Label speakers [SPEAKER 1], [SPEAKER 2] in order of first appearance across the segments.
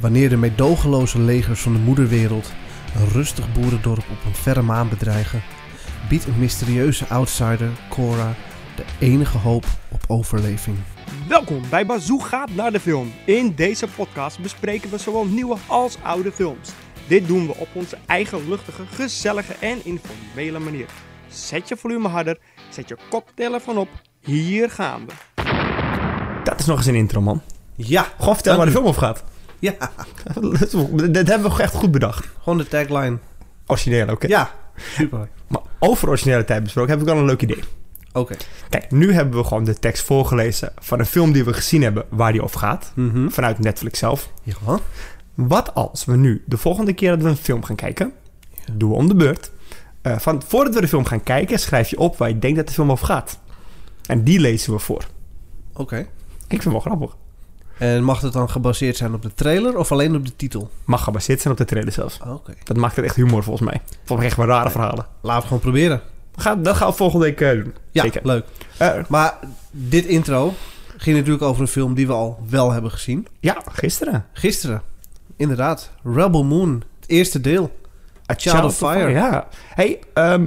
[SPEAKER 1] Wanneer de meedogenloze legers van de moederwereld een rustig boerendorp op een verre maan bedreigen, biedt een mysterieuze outsider, Cora, de enige hoop op overleving.
[SPEAKER 2] Welkom bij Bazoo gaat naar de film. In deze podcast bespreken we zowel nieuwe als oude films. Dit doen we op onze eigen luchtige, gezellige en informele manier. Zet je volume harder, zet je cocktail ervan op. Hier gaan we. Dat is nog eens een intro, man.
[SPEAKER 1] Ja,
[SPEAKER 2] Gewoon vertel waar de film over gaat.
[SPEAKER 1] ja,
[SPEAKER 2] Dat hebben we echt goed bedacht.
[SPEAKER 1] gewoon de tagline.
[SPEAKER 2] Origineel, oké.
[SPEAKER 1] Ja, super.
[SPEAKER 2] Maar over originaliteit besproken heb ik wel een leuk idee.
[SPEAKER 1] Oké.
[SPEAKER 2] Kijk, nu hebben we gewoon de tekst voorgelezen van een film die we gezien hebben waar die over gaat.
[SPEAKER 1] Mhm.
[SPEAKER 2] Vanuit Netflix zelf.
[SPEAKER 1] Ja.
[SPEAKER 2] Wat als we nu de volgende keer dat we een film gaan kijken, doen we om de beurt. Eh, van, voordat we de film gaan kijken, schrijf je op waar je denkt dat de film over gaat. En die lezen we voor.
[SPEAKER 1] Oké.
[SPEAKER 2] Ik vind het wel grappig.
[SPEAKER 1] En mag het dan gebaseerd zijn op de trailer of alleen op de titel?
[SPEAKER 2] Mag gebaseerd zijn op de trailer zelfs.
[SPEAKER 1] Oké.
[SPEAKER 2] Dat maakt het echt humor volgens mij. Volgens mij echt wel rare verhalen.
[SPEAKER 1] Laten we gewoon proberen.
[SPEAKER 2] Ga, dat gaan we volgende week eh, doen.
[SPEAKER 1] Ja,
[SPEAKER 2] Zeker.
[SPEAKER 1] leuk.
[SPEAKER 2] Eh,
[SPEAKER 1] Maar dit intro ging natuurlijk over een film die we al wel hebben gezien.
[SPEAKER 2] ja, gisteren.
[SPEAKER 1] Gisteren. Inderdaad. Rebel Moon. Het eerste deel.
[SPEAKER 2] A
[SPEAKER 1] Child of Fire.
[SPEAKER 2] Ja. Hey, ehm,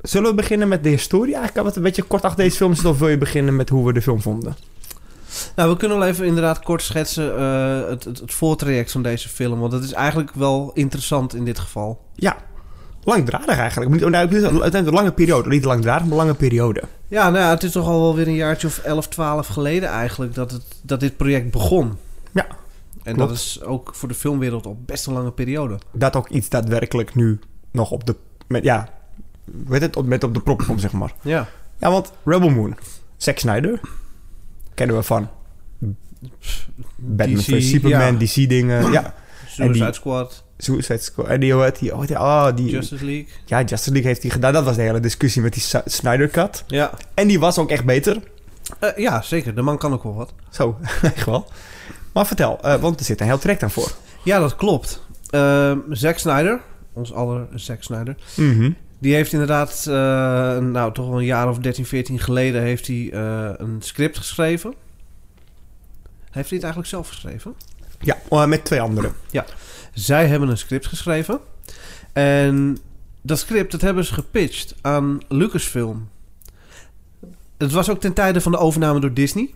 [SPEAKER 2] zullen we beginnen met de historie? Eigenlijk kan het een beetje kort achter deze film zitten. Of wil je beginnen met hoe we de film vonden?
[SPEAKER 1] Nou, we kunnen wel even inderdaad kort schetsen eh, het, het, het voortraject van deze film. Want dat is eigenlijk wel interessant in dit geval.
[SPEAKER 2] Ja. Langdradig eigenlijk. Niet- nou, het is een- het is een lange periode. Niet langdradig, maar lange periode.
[SPEAKER 1] Ja, nou ja, het is toch al wel weer een jaartje of 11, 12 geleden eigenlijk dat, het, dat dit project begon.
[SPEAKER 2] Ja,
[SPEAKER 1] En
[SPEAKER 2] klopt.
[SPEAKER 1] dat is ook voor de filmwereld al best een lange periode.
[SPEAKER 2] Dat ook iets daadwerkelijk nu nog op de... Met, ja, weet het, op, met op de prop komt, zeg maar.
[SPEAKER 1] Ja.
[SPEAKER 2] Ja, want Rebel Moon. Zack Snyder. Kennen we van... Batman
[SPEAKER 1] DC,
[SPEAKER 2] vs. Superman,
[SPEAKER 1] ja.
[SPEAKER 2] DC-dingen. Ja,
[SPEAKER 1] Suicide Squad,
[SPEAKER 2] Suicide Squad. En die, hoe heet die, oh, die, oh, die
[SPEAKER 1] Justice League.
[SPEAKER 2] Ja, Justice League heeft die gedaan. Dat was de hele discussie met die Sa- Snyder Cut.
[SPEAKER 1] Ja.
[SPEAKER 2] En die was ook echt beter.
[SPEAKER 1] Eh, ja, zeker. De man kan ook wel wat.
[SPEAKER 2] Zo, echt wel. Maar vertel, eh, want er zit een heel trek aan voor.
[SPEAKER 1] Ja, dat klopt. Ehm Zack Snyder, ons aller Zack Snyder, die heeft inderdaad, eh, nou toch wel een jaar of 13, 14 geleden, heeft hij eh, een script geschreven. Heeft hij het eigenlijk zelf geschreven?
[SPEAKER 2] Ja, eh, met twee anderen.
[SPEAKER 1] Zij hebben een script geschreven. En dat script, dat hebben ze gepitcht aan Lucasfilm. Het was ook ten tijde van de overname door Disney.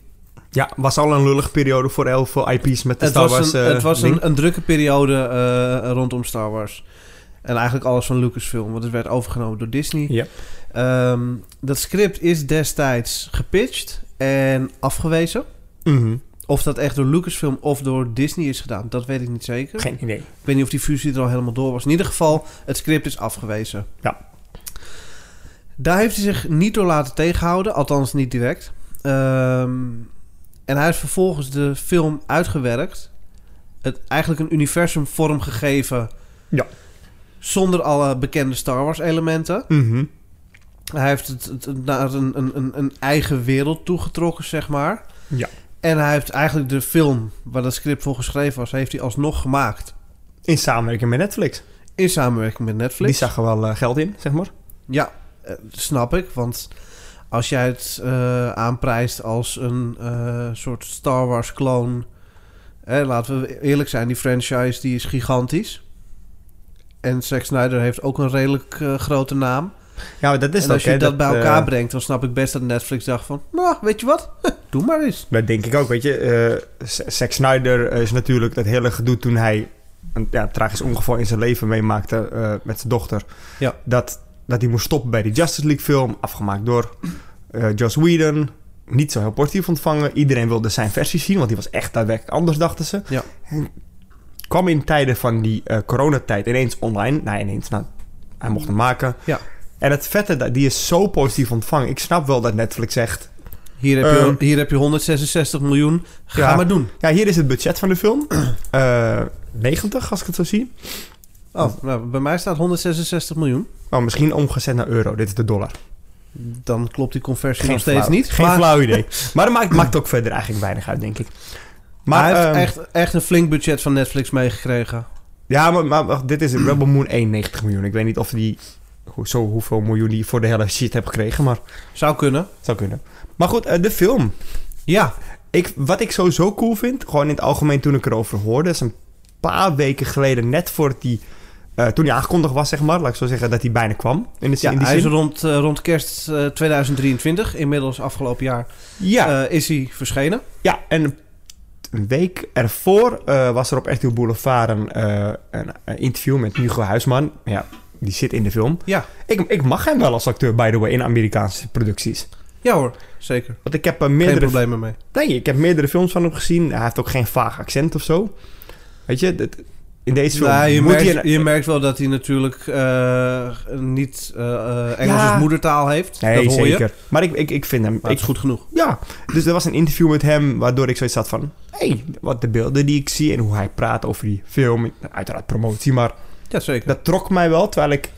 [SPEAKER 2] Ja, was al een lullige periode voor heel veel IP's met de
[SPEAKER 1] Het
[SPEAKER 2] Star
[SPEAKER 1] was,
[SPEAKER 2] Wars.
[SPEAKER 1] een,
[SPEAKER 2] eh,
[SPEAKER 1] het was
[SPEAKER 2] ding.
[SPEAKER 1] een, een drukke periode eh, rondom Star Wars. En eigenlijk alles van Lucasfilm, want het werd overgenomen door Disney.
[SPEAKER 2] Ja.
[SPEAKER 1] Ehm, dat script is destijds gepitcht en afgewezen.
[SPEAKER 2] Mhm.
[SPEAKER 1] Of dat echt door Lucasfilm of door Disney is gedaan, dat weet ik niet zeker.
[SPEAKER 2] Geen idee.
[SPEAKER 1] Ik weet niet of die fusie er al helemaal door was. In ieder geval, het script is afgewezen.
[SPEAKER 2] Ja.
[SPEAKER 1] Daar heeft hij zich niet door laten tegenhouden, althans niet direct. Ehm, en hij heeft vervolgens de film uitgewerkt. Het eigenlijk een universum vormgegeven.
[SPEAKER 2] Ja.
[SPEAKER 1] Zonder alle bekende Star Wars elementen.
[SPEAKER 2] Mhm.
[SPEAKER 1] Hij heeft het, het- het naar een, een, een, een eigen wereld toegetrokken, zeg maar.
[SPEAKER 2] Ja.
[SPEAKER 1] En hij heeft eigenlijk de film waar dat script voor geschreven was, heeft hij alsnog gemaakt.
[SPEAKER 2] In samenwerking met Netflix.
[SPEAKER 1] In samenwerking met Netflix.
[SPEAKER 2] Die zag er wel eh, geld in, zeg maar.
[SPEAKER 1] Ja, eh, snap ik. Want als jij het eh, aanprijst als een eh, soort Star Wars kloon. Eh, laten we eerlijk zijn, die franchise die is gigantisch. En Zack Snyder heeft ook een redelijk eh, grote naam.
[SPEAKER 2] Ja, maar dat is
[SPEAKER 1] en
[SPEAKER 2] het
[SPEAKER 1] als
[SPEAKER 2] ook,
[SPEAKER 1] je
[SPEAKER 2] hè,
[SPEAKER 1] dat, bij
[SPEAKER 2] eh,
[SPEAKER 1] elkaar brengt, dan snap ik best dat Netflix dacht van... Nou, weet je wat? Doe maar eens.
[SPEAKER 2] Dat denk ik ook, weet je. eh, Z- Zack Snyder eh, is natuurlijk dat hele gedoe toen hij een ja, tragisch ongeval in zijn leven meemaakte eh, met zijn dochter.
[SPEAKER 1] Ja.
[SPEAKER 2] Dat, dat hij moest stoppen bij die Justice League film, afgemaakt door eh Joss Whedon. Niet zo heel positief ontvangen. Iedereen wilde zijn versie zien, want die was echt daadwerkelijk anders, dachten ze.
[SPEAKER 1] Ja.
[SPEAKER 2] En kwam in tijden van die eh, coronatijd ineens online. Nou, ineens, nou, hij mocht hem maken.
[SPEAKER 1] Ja.
[SPEAKER 2] En het vette, dat- die is zo positief ontvangen. Ik snap wel dat Netflix zegt...
[SPEAKER 1] Hier heb, je,
[SPEAKER 2] Ehm.
[SPEAKER 1] hier heb je 166 miljoen. Ga
[SPEAKER 2] Ja.
[SPEAKER 1] maar doen.
[SPEAKER 2] Ja, hier is het budget van de film. Eh 90, als ik het zo zie.
[SPEAKER 1] Oh, nou, bij mij staat 166 miljoen.
[SPEAKER 2] Oh, misschien omgezet naar euro. Dit is de dollar.
[SPEAKER 1] Dan klopt die conversie nog steeds
[SPEAKER 2] flauw-
[SPEAKER 1] niet.
[SPEAKER 2] Geen
[SPEAKER 1] maar-
[SPEAKER 2] flauw idee. Maar dat maakt, maakt ook verder eigenlijk weinig uit, denk ik. Maar,
[SPEAKER 1] hij heeft
[SPEAKER 2] ehm,
[SPEAKER 1] echt, echt een flink budget van Netflix meegekregen.
[SPEAKER 2] Ja, maar, maar wacht, dit is het. Rebel Moon 91 miljoen. Ik weet niet of die... hoe- Zo hoeveel miljoen die voor de hele shit heb gekregen, maar
[SPEAKER 1] Zou kunnen.
[SPEAKER 2] zou kunnen. Maar goed, eh, de film.
[SPEAKER 1] Ja,
[SPEAKER 2] Ik, wat ik sowieso cool vind, gewoon in het algemeen toen ik erover hoorde, is een paar weken geleden, net voordat die, eh, toen hij aangekondigd was, zeg maar, laat ik zo zeggen, dat hij bijna kwam. In de, zin-
[SPEAKER 1] Ja,
[SPEAKER 2] in die
[SPEAKER 1] hij is
[SPEAKER 2] zin.
[SPEAKER 1] rond, eh, rond kerst eh, 2023, inmiddels afgelopen jaar,
[SPEAKER 2] Ja,
[SPEAKER 1] eh, is hij verschenen.
[SPEAKER 2] ja, en een week ervoor eh, was er op RTL Boulevard een, eh, een, een interview met Hugo Huisman. Ja, die zit in de film.
[SPEAKER 1] Ja.
[SPEAKER 2] Ik, ik mag hem wel als acteur, by the way, in Amerikaanse producties.
[SPEAKER 1] Ja hoor, zeker.
[SPEAKER 2] Want ik heb eh,
[SPEAKER 1] Geen
[SPEAKER 2] meerdere
[SPEAKER 1] problemen mee.
[SPEAKER 2] Nee, ik heb meerdere films van hem gezien. Hij heeft ook geen vaag accent of zo. Weet je, dat- in deze film
[SPEAKER 1] Nou, je,
[SPEAKER 2] moet
[SPEAKER 1] merkt,
[SPEAKER 2] hij... een-
[SPEAKER 1] je merkt wel dat hij natuurlijk eh, niet eh, eh, Engels
[SPEAKER 2] Ja.
[SPEAKER 1] als moedertaal heeft.
[SPEAKER 2] Nee,
[SPEAKER 1] dat hoor
[SPEAKER 2] zeker.
[SPEAKER 1] je.
[SPEAKER 2] Maar ik, ik, ik vind hem...
[SPEAKER 1] Maar
[SPEAKER 2] ik-
[SPEAKER 1] het is goed genoeg.
[SPEAKER 2] ja, dus er was een interview met hem... waardoor ik zoiets had van... Hé, hey, wat de beelden die ik zie en hoe hij praat over die film. Uiteraard promotie, maar
[SPEAKER 1] Ja, zeker.
[SPEAKER 2] dat trok mij wel. Terwijl ik...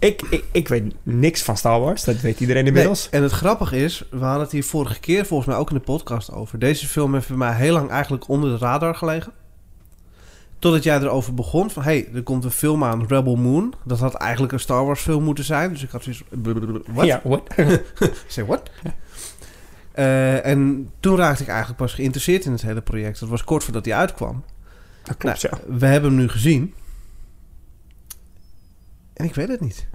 [SPEAKER 2] Ik, ik, ik weet niks van Star Wars. Dat weet iedereen inmiddels.
[SPEAKER 1] Nee, en het grappige is, we hadden het hier vorige keer volgens mij ook in de podcast over. Deze film heeft bij mij heel lang eigenlijk onder de radar gelegen. Totdat jij erover begon van, hey, er komt een film aan, Rebel Moon. Dat had eigenlijk een Star Wars film moeten zijn. Dus ik had zoiets, wat?
[SPEAKER 2] Ja, what?
[SPEAKER 1] Say what? Eh, en toen raakte ik eigenlijk pas geïnteresseerd in het hele project. Dat was kort voordat hij uitkwam.
[SPEAKER 2] Dat klopt, ja.
[SPEAKER 1] We hebben hem nu gezien. En ik weet het niet.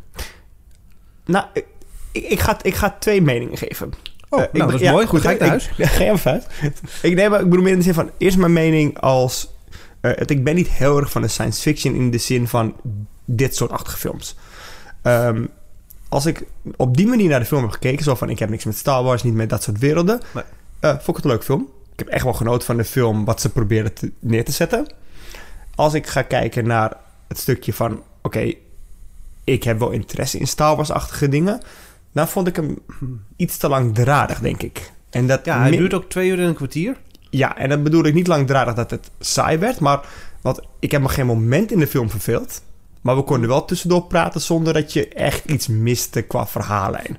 [SPEAKER 2] Nou, ik, ik, ik ga, ik ga twee meningen geven.
[SPEAKER 1] Oh, nou,
[SPEAKER 2] Eh, ik ben-
[SPEAKER 1] dat is
[SPEAKER 2] ja,
[SPEAKER 1] mooi. Goed,
[SPEAKER 2] hè?
[SPEAKER 1] ga ik naar huis.
[SPEAKER 2] Ja, ga jij maar uit. ik, neem, eh, ik bedoel meer in de zin van... Eerst mijn mening als... eh, het, ik ben niet heel erg van de science fiction... in de zin van dit soort achtige films. Ehm, als ik op die manier naar de film heb gekeken... zo van ik heb niks met Star Wars... niet met dat soort werelden...
[SPEAKER 1] Nee.
[SPEAKER 2] eh, vond ik het een leuk film. Ik heb echt wel genoten van de film... wat ze probeerden te- neer te zetten. Als ik ga kijken naar het stukje van... oké, ik heb wel interesse in Star Wars-achtige dingen... dan vond ik hem iets te langdradig, denk ik. En dat
[SPEAKER 1] Ja, hij
[SPEAKER 2] min-
[SPEAKER 1] duurt ook twee uur en een kwartier.
[SPEAKER 2] ja, en dat bedoel ik niet langdradig dat het saai werd, maar want ik heb me geen moment in de film verveeld. Maar we konden wel tussendoor praten zonder dat je echt iets miste qua verhaallijn.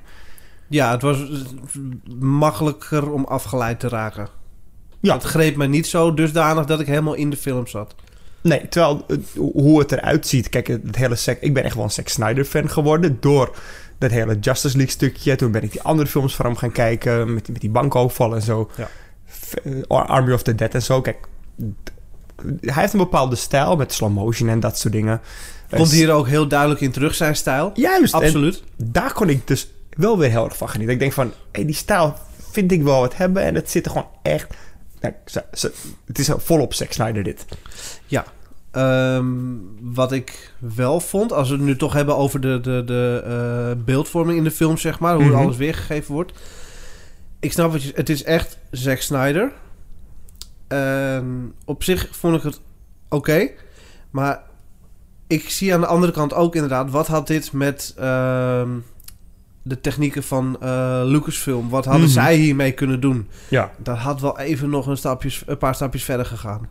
[SPEAKER 1] Ja, het was eh, makkelijker om afgeleid te raken.
[SPEAKER 2] Ja.
[SPEAKER 1] Het greep me niet zo dusdanig dat ik helemaal in de film zat.
[SPEAKER 2] Nee, terwijl eh, hoe het eruit ziet. Kijk, het het hele Zack- ik ben echt wel een Zack Snyder fan geworden door dat hele Justice League stukje. Toen ben ik die andere films van hem gaan kijken met, die- met die bankovervallen en zo.
[SPEAKER 1] Ja.
[SPEAKER 2] F- eh, Army of the Dead en zo. Kijk, d- hij heeft een bepaalde stijl met slow motion en dat soort dingen.
[SPEAKER 1] Komt
[SPEAKER 2] Eh,
[SPEAKER 1] hier ook heel duidelijk in terug zijn stijl.
[SPEAKER 2] Juist. en-
[SPEAKER 1] Absoluut.
[SPEAKER 2] daar kon ik dus wel weer heel erg van genieten. Ik denk van, hé, die stijl vind ik wel wat hebben. En het zit er gewoon echt... Nou, ze- ze- het is volop Zack Snyder dit.
[SPEAKER 1] Ehm, wat ik wel vond, als we het nu toch hebben over de, de, de eh, beeldvorming in de film, zeg maar, hoe
[SPEAKER 2] Mhm.
[SPEAKER 1] alles weergegeven wordt. Ik snap wat je. Het is echt Zack Snyder. Ehm, op zich vond ik het oké, maar ik zie aan de andere kant ook inderdaad wat had dit met ehm, de technieken van eh, Lucasfilm. Wat hadden
[SPEAKER 2] Mhm.
[SPEAKER 1] zij hiermee kunnen doen?
[SPEAKER 2] Ja.
[SPEAKER 1] Dat had wel even nog een, stapjes, een paar stapjes verder gegaan.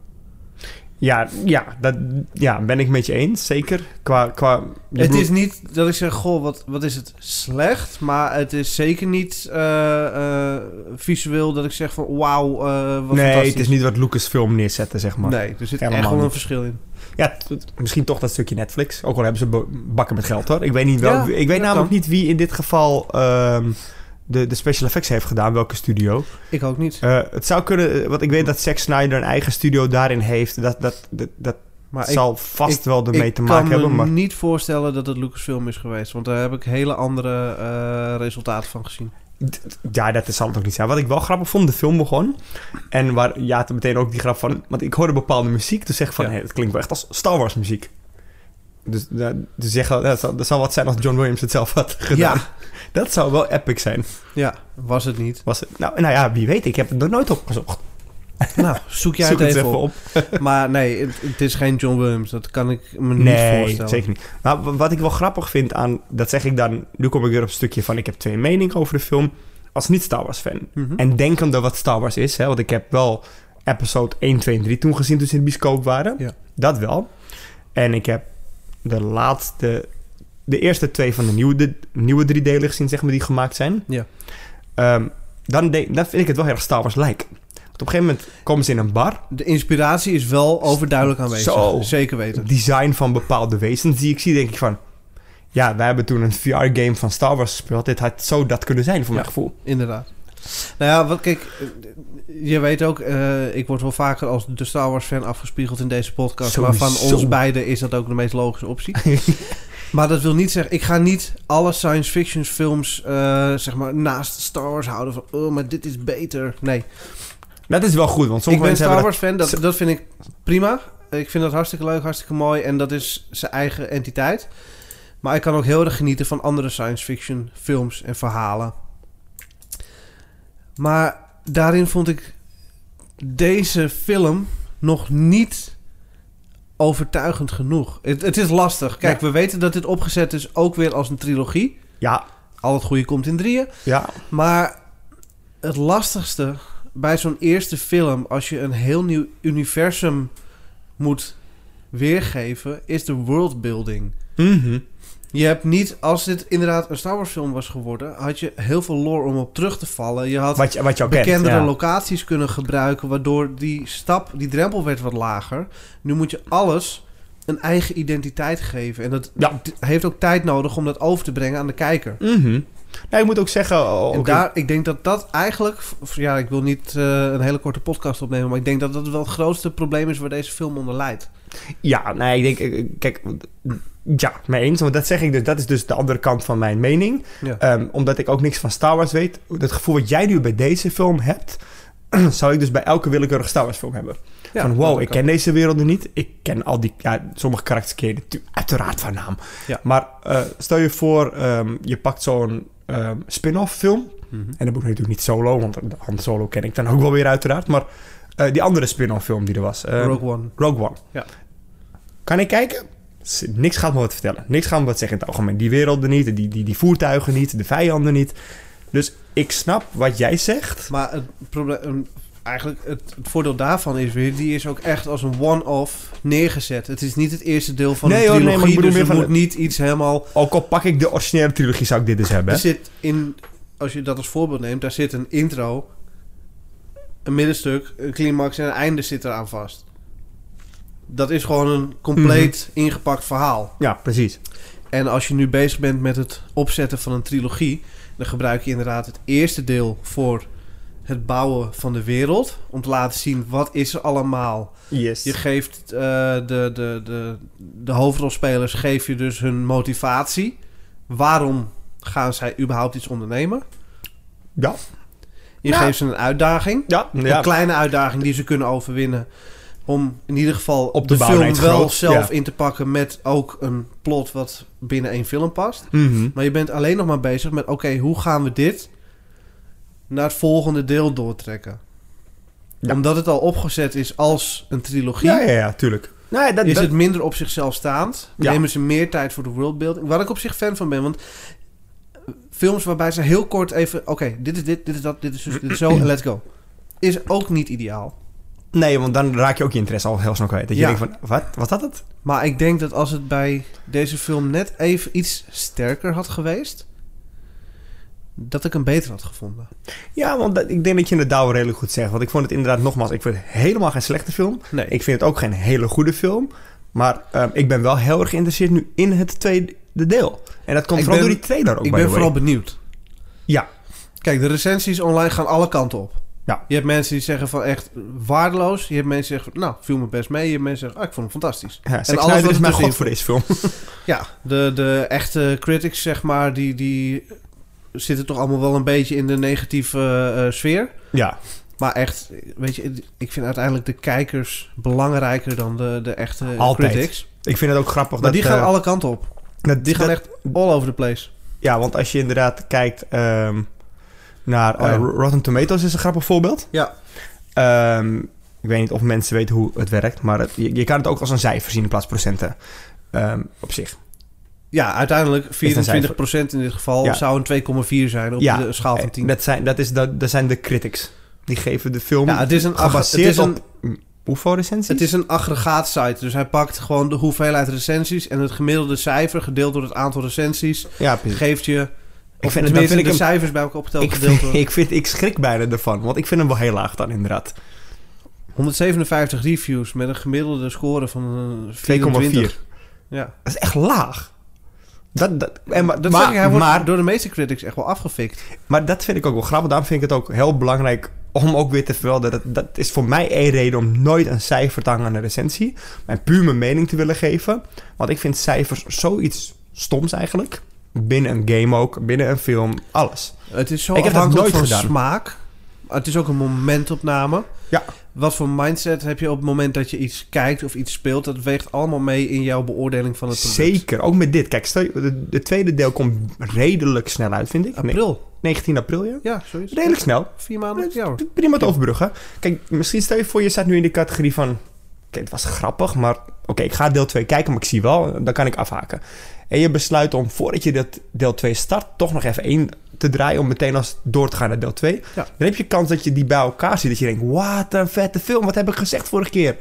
[SPEAKER 2] Ja, ja, dat, ja, ben ik met je eens, zeker. Qua, qua, je
[SPEAKER 1] Het
[SPEAKER 2] bedoelt-
[SPEAKER 1] is niet dat ik zeg, goh, wat, wat is het slecht. Maar het is zeker niet eh, eh, visueel dat ik zeg van, wauw, eh wat
[SPEAKER 2] nee,
[SPEAKER 1] fantastisch.
[SPEAKER 2] het is niet wat Lucasfilm neerzetten, zeg maar.
[SPEAKER 1] Nee, er zit
[SPEAKER 2] Helemaal
[SPEAKER 1] echt wel een
[SPEAKER 2] niet.
[SPEAKER 1] verschil in.
[SPEAKER 2] Ja, t- t- misschien toch dat stukje Netflix. Ook al hebben ze bo- bakken met geld, hoor. Ik weet, niet wel,
[SPEAKER 1] Ja,
[SPEAKER 2] ik weet
[SPEAKER 1] dat
[SPEAKER 2] namelijk
[SPEAKER 1] kan.
[SPEAKER 2] niet wie in dit geval ehm, de, de special effects heeft gedaan. Welke studio.
[SPEAKER 1] Ik ook niet.
[SPEAKER 2] Eh, het zou kunnen, eh, want ik weet dat Zack Snyder een eigen studio daarin heeft. Dat, dat, dat, dat
[SPEAKER 1] Maar ik,
[SPEAKER 2] zal vast wel ermee
[SPEAKER 1] ik
[SPEAKER 2] te
[SPEAKER 1] kan
[SPEAKER 2] maken
[SPEAKER 1] me
[SPEAKER 2] hebben. Maar
[SPEAKER 1] niet voorstellen dat het Lucasfilm is geweest. Want daar heb ik hele andere eh, resultaten van gezien.
[SPEAKER 2] ja, dat zal het ook niet zijn. Wat ik wel grappig vond, de film begon. En waar ja, het meteen ook die grap van. Want ik hoorde bepaalde muziek. Toen zeg ik van,
[SPEAKER 1] Ja.
[SPEAKER 2] hé, het klinkt wel echt als Star Wars muziek. Dus eh, dus zeggen, dat, zal, dat zal wat zijn als John Williams het zelf had gedaan.
[SPEAKER 1] Ja.
[SPEAKER 2] Dat zou wel epic zijn.
[SPEAKER 1] Ja, was het niet.
[SPEAKER 2] Was het, nou, nou ja, wie weet. Ik heb het nog nooit opgezocht.
[SPEAKER 1] Nou, zoek jij
[SPEAKER 2] Zoek
[SPEAKER 1] het
[SPEAKER 2] het
[SPEAKER 1] even op. Maar nee, het, het is geen John Williams. Dat kan ik me niet
[SPEAKER 2] Nee,
[SPEAKER 1] voorstellen.
[SPEAKER 2] zeker niet. Maar w- wat ik wel grappig vind aan... Dat zeg ik dan... Nu kom ik weer op een stukje van... Ik heb twee meningen over de film. Als niet-Star Wars-fan.
[SPEAKER 1] Mhm.
[SPEAKER 2] En denkende wat Star Wars is. Hè, want ik heb wel episode 1, 2 en 3 toen gezien... toen ze in de bioscoop waren.
[SPEAKER 1] Ja.
[SPEAKER 2] Dat wel. En ik heb de laatste... De eerste twee van de nieuwe, de, nieuwe driedelen gezien, zeg maar, die gemaakt zijn.
[SPEAKER 1] Ja.
[SPEAKER 2] Ehm, dan, denk- dan vind ik het wel heel erg Star Wars lijken. Want op een gegeven moment komen ze in een bar.
[SPEAKER 1] De inspiratie is wel overduidelijk aanwezig.
[SPEAKER 2] Zo.
[SPEAKER 1] Zeker weten.
[SPEAKER 2] het design van bepaalde wezens die ik zie, denk ik van... Ja, wij hebben toen een VR-game van Star Wars gespeeld. Dit had zo dat kunnen zijn, voor
[SPEAKER 1] Ja.
[SPEAKER 2] mijn gevoel.
[SPEAKER 1] Inderdaad. Nou ja, wat, kijk, eh, je weet ook, eh, ik word wel vaker als de Star Wars fan afgespiegeld in deze podcast.
[SPEAKER 2] Sowieso.
[SPEAKER 1] Maar van ons beiden is dat ook de meest logische optie. maar dat wil niet zeggen, ik ga niet alle science fiction films eh, zeg maar, naast Star Wars houden van, oh, maar dit is beter. Nee,
[SPEAKER 2] Dat is wel goed, want sommige
[SPEAKER 1] ik ben
[SPEAKER 2] mensen
[SPEAKER 1] Star
[SPEAKER 2] hebben
[SPEAKER 1] Wars fan, dat, dat vind ik prima. Ik vind dat hartstikke leuk, hartstikke mooi en dat is zijn eigen entiteit. Maar ik kan ook heel erg genieten van andere science fiction films en verhalen. Maar daarin vond ik deze film nog niet overtuigend genoeg. Het, het is lastig. Kijk, we weten dat dit opgezet is ook weer als een trilogie.
[SPEAKER 2] dat... Ja,
[SPEAKER 1] Al het goede komt in drieën.
[SPEAKER 2] ja.
[SPEAKER 1] Maar het lastigste bij zo'n eerste film, als je een heel nieuw universum moet weergeven, is de worldbuilding.
[SPEAKER 2] Mhm.
[SPEAKER 1] Je hebt niet, als dit inderdaad een Star Wars film was geworden, had je heel veel lore om op terug te vallen. Je had
[SPEAKER 2] Wat, je, wat je al kent,
[SPEAKER 1] bekendere
[SPEAKER 2] ja.
[SPEAKER 1] locaties kunnen gebruiken, waardoor die stap, die drempel werd wat lager. Nu moet je alles een eigen identiteit geven. En dat
[SPEAKER 2] Ja.
[SPEAKER 1] d- heeft ook tijd nodig om dat over te brengen aan de kijker.
[SPEAKER 2] Mhm. Nou, ik moet ook zeggen... oh,
[SPEAKER 1] En
[SPEAKER 2] oké.
[SPEAKER 1] daar, ik denk dat dat eigenlijk, of ja, ik wil niet eh, een hele korte podcast opnemen, maar ik denk dat dat wel het grootste probleem is waar deze film onder leidt.
[SPEAKER 2] Ja, nee, ik denk... eh, Kijk, ja, mee eens. Want dat zeg ik dus. Dat is dus de andere kant van mijn mening.
[SPEAKER 1] Ja.
[SPEAKER 2] Ehm, omdat ik ook niks van Star Wars weet. Dat gevoel wat jij nu bij deze film hebt... zou ik dus bij elke willekeurige Star Wars film hebben.
[SPEAKER 1] Ja,
[SPEAKER 2] van
[SPEAKER 1] dat
[SPEAKER 2] wow,
[SPEAKER 1] ook
[SPEAKER 2] ik ken deze werelden niet. Ik ken al die... Ja, sommige karakters ken je natu- uiteraard van naam.
[SPEAKER 1] Ja.
[SPEAKER 2] Maar eh, stel je voor, ehm, je pakt zo'n ehm, spin-off film.
[SPEAKER 1] Mhm.
[SPEAKER 2] En dat moet natuurlijk niet solo, want Han Solo ken ik dan ook wel weer uiteraard. Maar eh, die andere spin-off film die er was. ehm,
[SPEAKER 1] Rogue One.
[SPEAKER 2] Rogue One.
[SPEAKER 1] Ja.
[SPEAKER 2] Kan ik kijken? S- Niks gaat me wat vertellen. Niks gaat me wat zeggen in het algemeen. Die werelden niet, die, die, die voertuigen niet, de vijanden niet. Dus ik snap wat jij zegt.
[SPEAKER 1] Maar het probleem, eigenlijk het, het voordeel daarvan is weer, die is ook echt als een one-off neergezet. Het is niet het eerste deel van
[SPEAKER 2] Nee,
[SPEAKER 1] een
[SPEAKER 2] hoor, nee, maar
[SPEAKER 1] trilogie,
[SPEAKER 2] ik bedoel
[SPEAKER 1] dus
[SPEAKER 2] meer
[SPEAKER 1] er
[SPEAKER 2] van
[SPEAKER 1] moet niet iets helemaal...
[SPEAKER 2] Ook al pak ik de originele trilogie, zou ik dit dus hebben.
[SPEAKER 1] Er
[SPEAKER 2] hè?
[SPEAKER 1] zit in, als je dat als voorbeeld neemt, daar zit een intro, een middenstuk, een climax en een einde zit eraan vast. Dat is gewoon een compleet ingepakt verhaal.
[SPEAKER 2] Ja, precies.
[SPEAKER 1] En als je nu bezig bent met het opzetten van een trilogie, dan gebruik je inderdaad het eerste deel voor het bouwen van de wereld. Om te laten zien wat is er allemaal.
[SPEAKER 2] Yes.
[SPEAKER 1] Je geeft eh, de, de, de, de hoofdrolspelers geef je dus hun motivatie. Waarom gaan zij überhaupt iets ondernemen?
[SPEAKER 2] Ja,
[SPEAKER 1] Je
[SPEAKER 2] Nou.
[SPEAKER 1] geeft ze een uitdaging.
[SPEAKER 2] ja, ja.
[SPEAKER 1] Een kleine uitdaging die ze kunnen overwinnen. Om in ieder geval
[SPEAKER 2] Op te
[SPEAKER 1] de
[SPEAKER 2] bouwen
[SPEAKER 1] film
[SPEAKER 2] naar
[SPEAKER 1] wel
[SPEAKER 2] iets groots,
[SPEAKER 1] zelf
[SPEAKER 2] ja.
[SPEAKER 1] in te pakken met ook een plot wat binnen één film past.
[SPEAKER 2] Mhm.
[SPEAKER 1] Maar je bent alleen nog maar bezig met: oké, hoe gaan we dit naar het volgende deel doortrekken?
[SPEAKER 2] Ja.
[SPEAKER 1] Omdat het al opgezet is als een trilogie,
[SPEAKER 2] ja, ja, Nou ja, tuurlijk. Nee, dat,
[SPEAKER 1] is
[SPEAKER 2] dat-
[SPEAKER 1] het minder op zichzelf staand.
[SPEAKER 2] Ja.
[SPEAKER 1] Nemen ze meer tijd voor de worldbuilding. Waar ik op zich fan van ben, want eh, films waarbij ze heel kort even: oké, dit is dit, dit is dat, dit is, dus, dit is zo, en let's go. Is ook niet ideaal.
[SPEAKER 2] Nee, want dan raak je ook je interesse al heel snel kwijt. Dat je
[SPEAKER 1] Ja.
[SPEAKER 2] denkt van, wat? Was dat het?
[SPEAKER 1] Maar ik denk dat als het bij deze film net even iets sterker had geweest, dat ik hem beter had gevonden.
[SPEAKER 2] Ja, want dat- ik denk dat je het daar wel redelijk goed zegt. Want ik vond het inderdaad, nogmaals, ik vind het helemaal geen slechte film.
[SPEAKER 1] Nee,
[SPEAKER 2] Ik vind het ook geen hele goede film. Maar ehm, ik ben wel heel erg geïnteresseerd nu in het tweede deel. En dat komt
[SPEAKER 1] Ik
[SPEAKER 2] vooral
[SPEAKER 1] ben-
[SPEAKER 2] door die trailer ook,
[SPEAKER 1] ik
[SPEAKER 2] by
[SPEAKER 1] ben
[SPEAKER 2] the way.
[SPEAKER 1] vooral benieuwd.
[SPEAKER 2] Ja.
[SPEAKER 1] Kijk, de recensies online gaan alle kanten op.
[SPEAKER 2] Ja.
[SPEAKER 1] Je hebt mensen die zeggen van echt waardeloos. Je hebt mensen die zeggen, van, nou, viel me best mee. Je hebt mensen die zeggen, ah, ik vond hem fantastisch.
[SPEAKER 2] Ja, Zack
[SPEAKER 1] alles
[SPEAKER 2] Snyder
[SPEAKER 1] wat
[SPEAKER 2] is
[SPEAKER 1] er
[SPEAKER 2] mijn
[SPEAKER 1] tussenin
[SPEAKER 2] god voor deze film.
[SPEAKER 1] Ja, de, de echte critics, zeg maar, die, die zitten toch allemaal wel een beetje in de negatieve eh, sfeer.
[SPEAKER 2] ja.
[SPEAKER 1] Maar echt, weet je, ik vind uiteindelijk de kijkers belangrijker dan de, de echte
[SPEAKER 2] Altijd.
[SPEAKER 1] critics.
[SPEAKER 2] Ik vind het ook grappig
[SPEAKER 1] Maar
[SPEAKER 2] dat...
[SPEAKER 1] die gaan
[SPEAKER 2] eh,
[SPEAKER 1] alle kanten op.
[SPEAKER 2] dat-
[SPEAKER 1] Die gaan
[SPEAKER 2] dat-
[SPEAKER 1] echt all over the place.
[SPEAKER 2] Ja, want als je inderdaad kijkt ehm, naar...
[SPEAKER 1] Oh,
[SPEAKER 2] eh,
[SPEAKER 1] ja.
[SPEAKER 2] Rotten Tomatoes is een grappig voorbeeld.
[SPEAKER 1] Ja.
[SPEAKER 2] Ehm, ik weet niet of mensen weten hoe het werkt. Maar het- je, je kan het ook als een cijfer zien in plaats van procenten. Ehm, op zich.
[SPEAKER 1] Ja, uiteindelijk 24%
[SPEAKER 2] een cijfer.
[SPEAKER 1] in dit geval
[SPEAKER 2] Ja.
[SPEAKER 1] zou een 2,4 zijn op
[SPEAKER 2] Ja.
[SPEAKER 1] de schaal van 10.
[SPEAKER 2] Eh, Dat zijn, dat, is, dat, dat zijn de critics. Die geven de film
[SPEAKER 1] Ja, het is een, ag- het
[SPEAKER 2] gebaseerd
[SPEAKER 1] is een,
[SPEAKER 2] op... Hoeveel recensies?
[SPEAKER 1] het is een aggregaatsite. Dus hij pakt gewoon de hoeveelheid recensies en het gemiddelde cijfer gedeeld door het aantal recensies
[SPEAKER 2] Ja, precies.
[SPEAKER 1] geeft je. Of
[SPEAKER 2] vind- dan
[SPEAKER 1] tenminste,
[SPEAKER 2] vind ik
[SPEAKER 1] de
[SPEAKER 2] hem-
[SPEAKER 1] cijfers bij elkaar opgeteld
[SPEAKER 2] Ik,
[SPEAKER 1] gedeeld
[SPEAKER 2] vind,
[SPEAKER 1] door
[SPEAKER 2] ik, vind, ik schrik bijna ervan, want ik vind hem wel heel laag dan inderdaad.
[SPEAKER 1] 157 reviews met een gemiddelde score van eh, 24.
[SPEAKER 2] 2,4.
[SPEAKER 1] Ja.
[SPEAKER 2] Dat is echt laag. Dat, dat, en, maar,
[SPEAKER 1] Dat
[SPEAKER 2] maar,
[SPEAKER 1] zeg ik, hij wordt
[SPEAKER 2] maar,
[SPEAKER 1] door de meeste critics echt wel afgefikt.
[SPEAKER 2] maar dat vind ik ook wel grappig. Daarom vind ik het ook heel belangrijk om ook weer te verwelderen. Dat, dat is voor mij één reden om nooit een cijfer te hangen aan een recensie. En puur mijn mening te willen geven. Want ik vind cijfers zoiets stoms eigenlijk. Binnen een game ook, binnen een film, alles.
[SPEAKER 1] Het is zo
[SPEAKER 2] Ik heb dat
[SPEAKER 1] afhankelijk
[SPEAKER 2] nooit
[SPEAKER 1] van
[SPEAKER 2] gedaan.
[SPEAKER 1] smaak. Het is ook een momentopname.
[SPEAKER 2] Ja.
[SPEAKER 1] Wat voor mindset heb je op het moment dat je iets kijkt of iets speelt? Dat weegt allemaal mee in jouw beoordeling van het product.
[SPEAKER 2] Zeker, ook met dit. Kijk, stel, je- de, de tweede deel komt redelijk snel uit, vind ik. Nee,
[SPEAKER 1] April.
[SPEAKER 2] 19 april, ja.
[SPEAKER 1] Ja, zoiets.
[SPEAKER 2] Redelijk snel.
[SPEAKER 1] Vier maanden. Ja hoor.
[SPEAKER 2] Prima te overbruggen. Kijk, misschien stel je voor, je staat nu in de categorie van... Oké, het was grappig, maar... Oké, ik ga deel 2 kijken, maar ik zie wel. Dan kan ik afhaken. En je besluit om, voordat je dat deel 2 start... toch nog even één te draaien om meteen als door te gaan naar deel 2.
[SPEAKER 1] Ja.
[SPEAKER 2] Dan heb je kans dat je die bij elkaar ziet. Dat je denkt, wat een vette film. Wat heb ik gezegd vorige keer?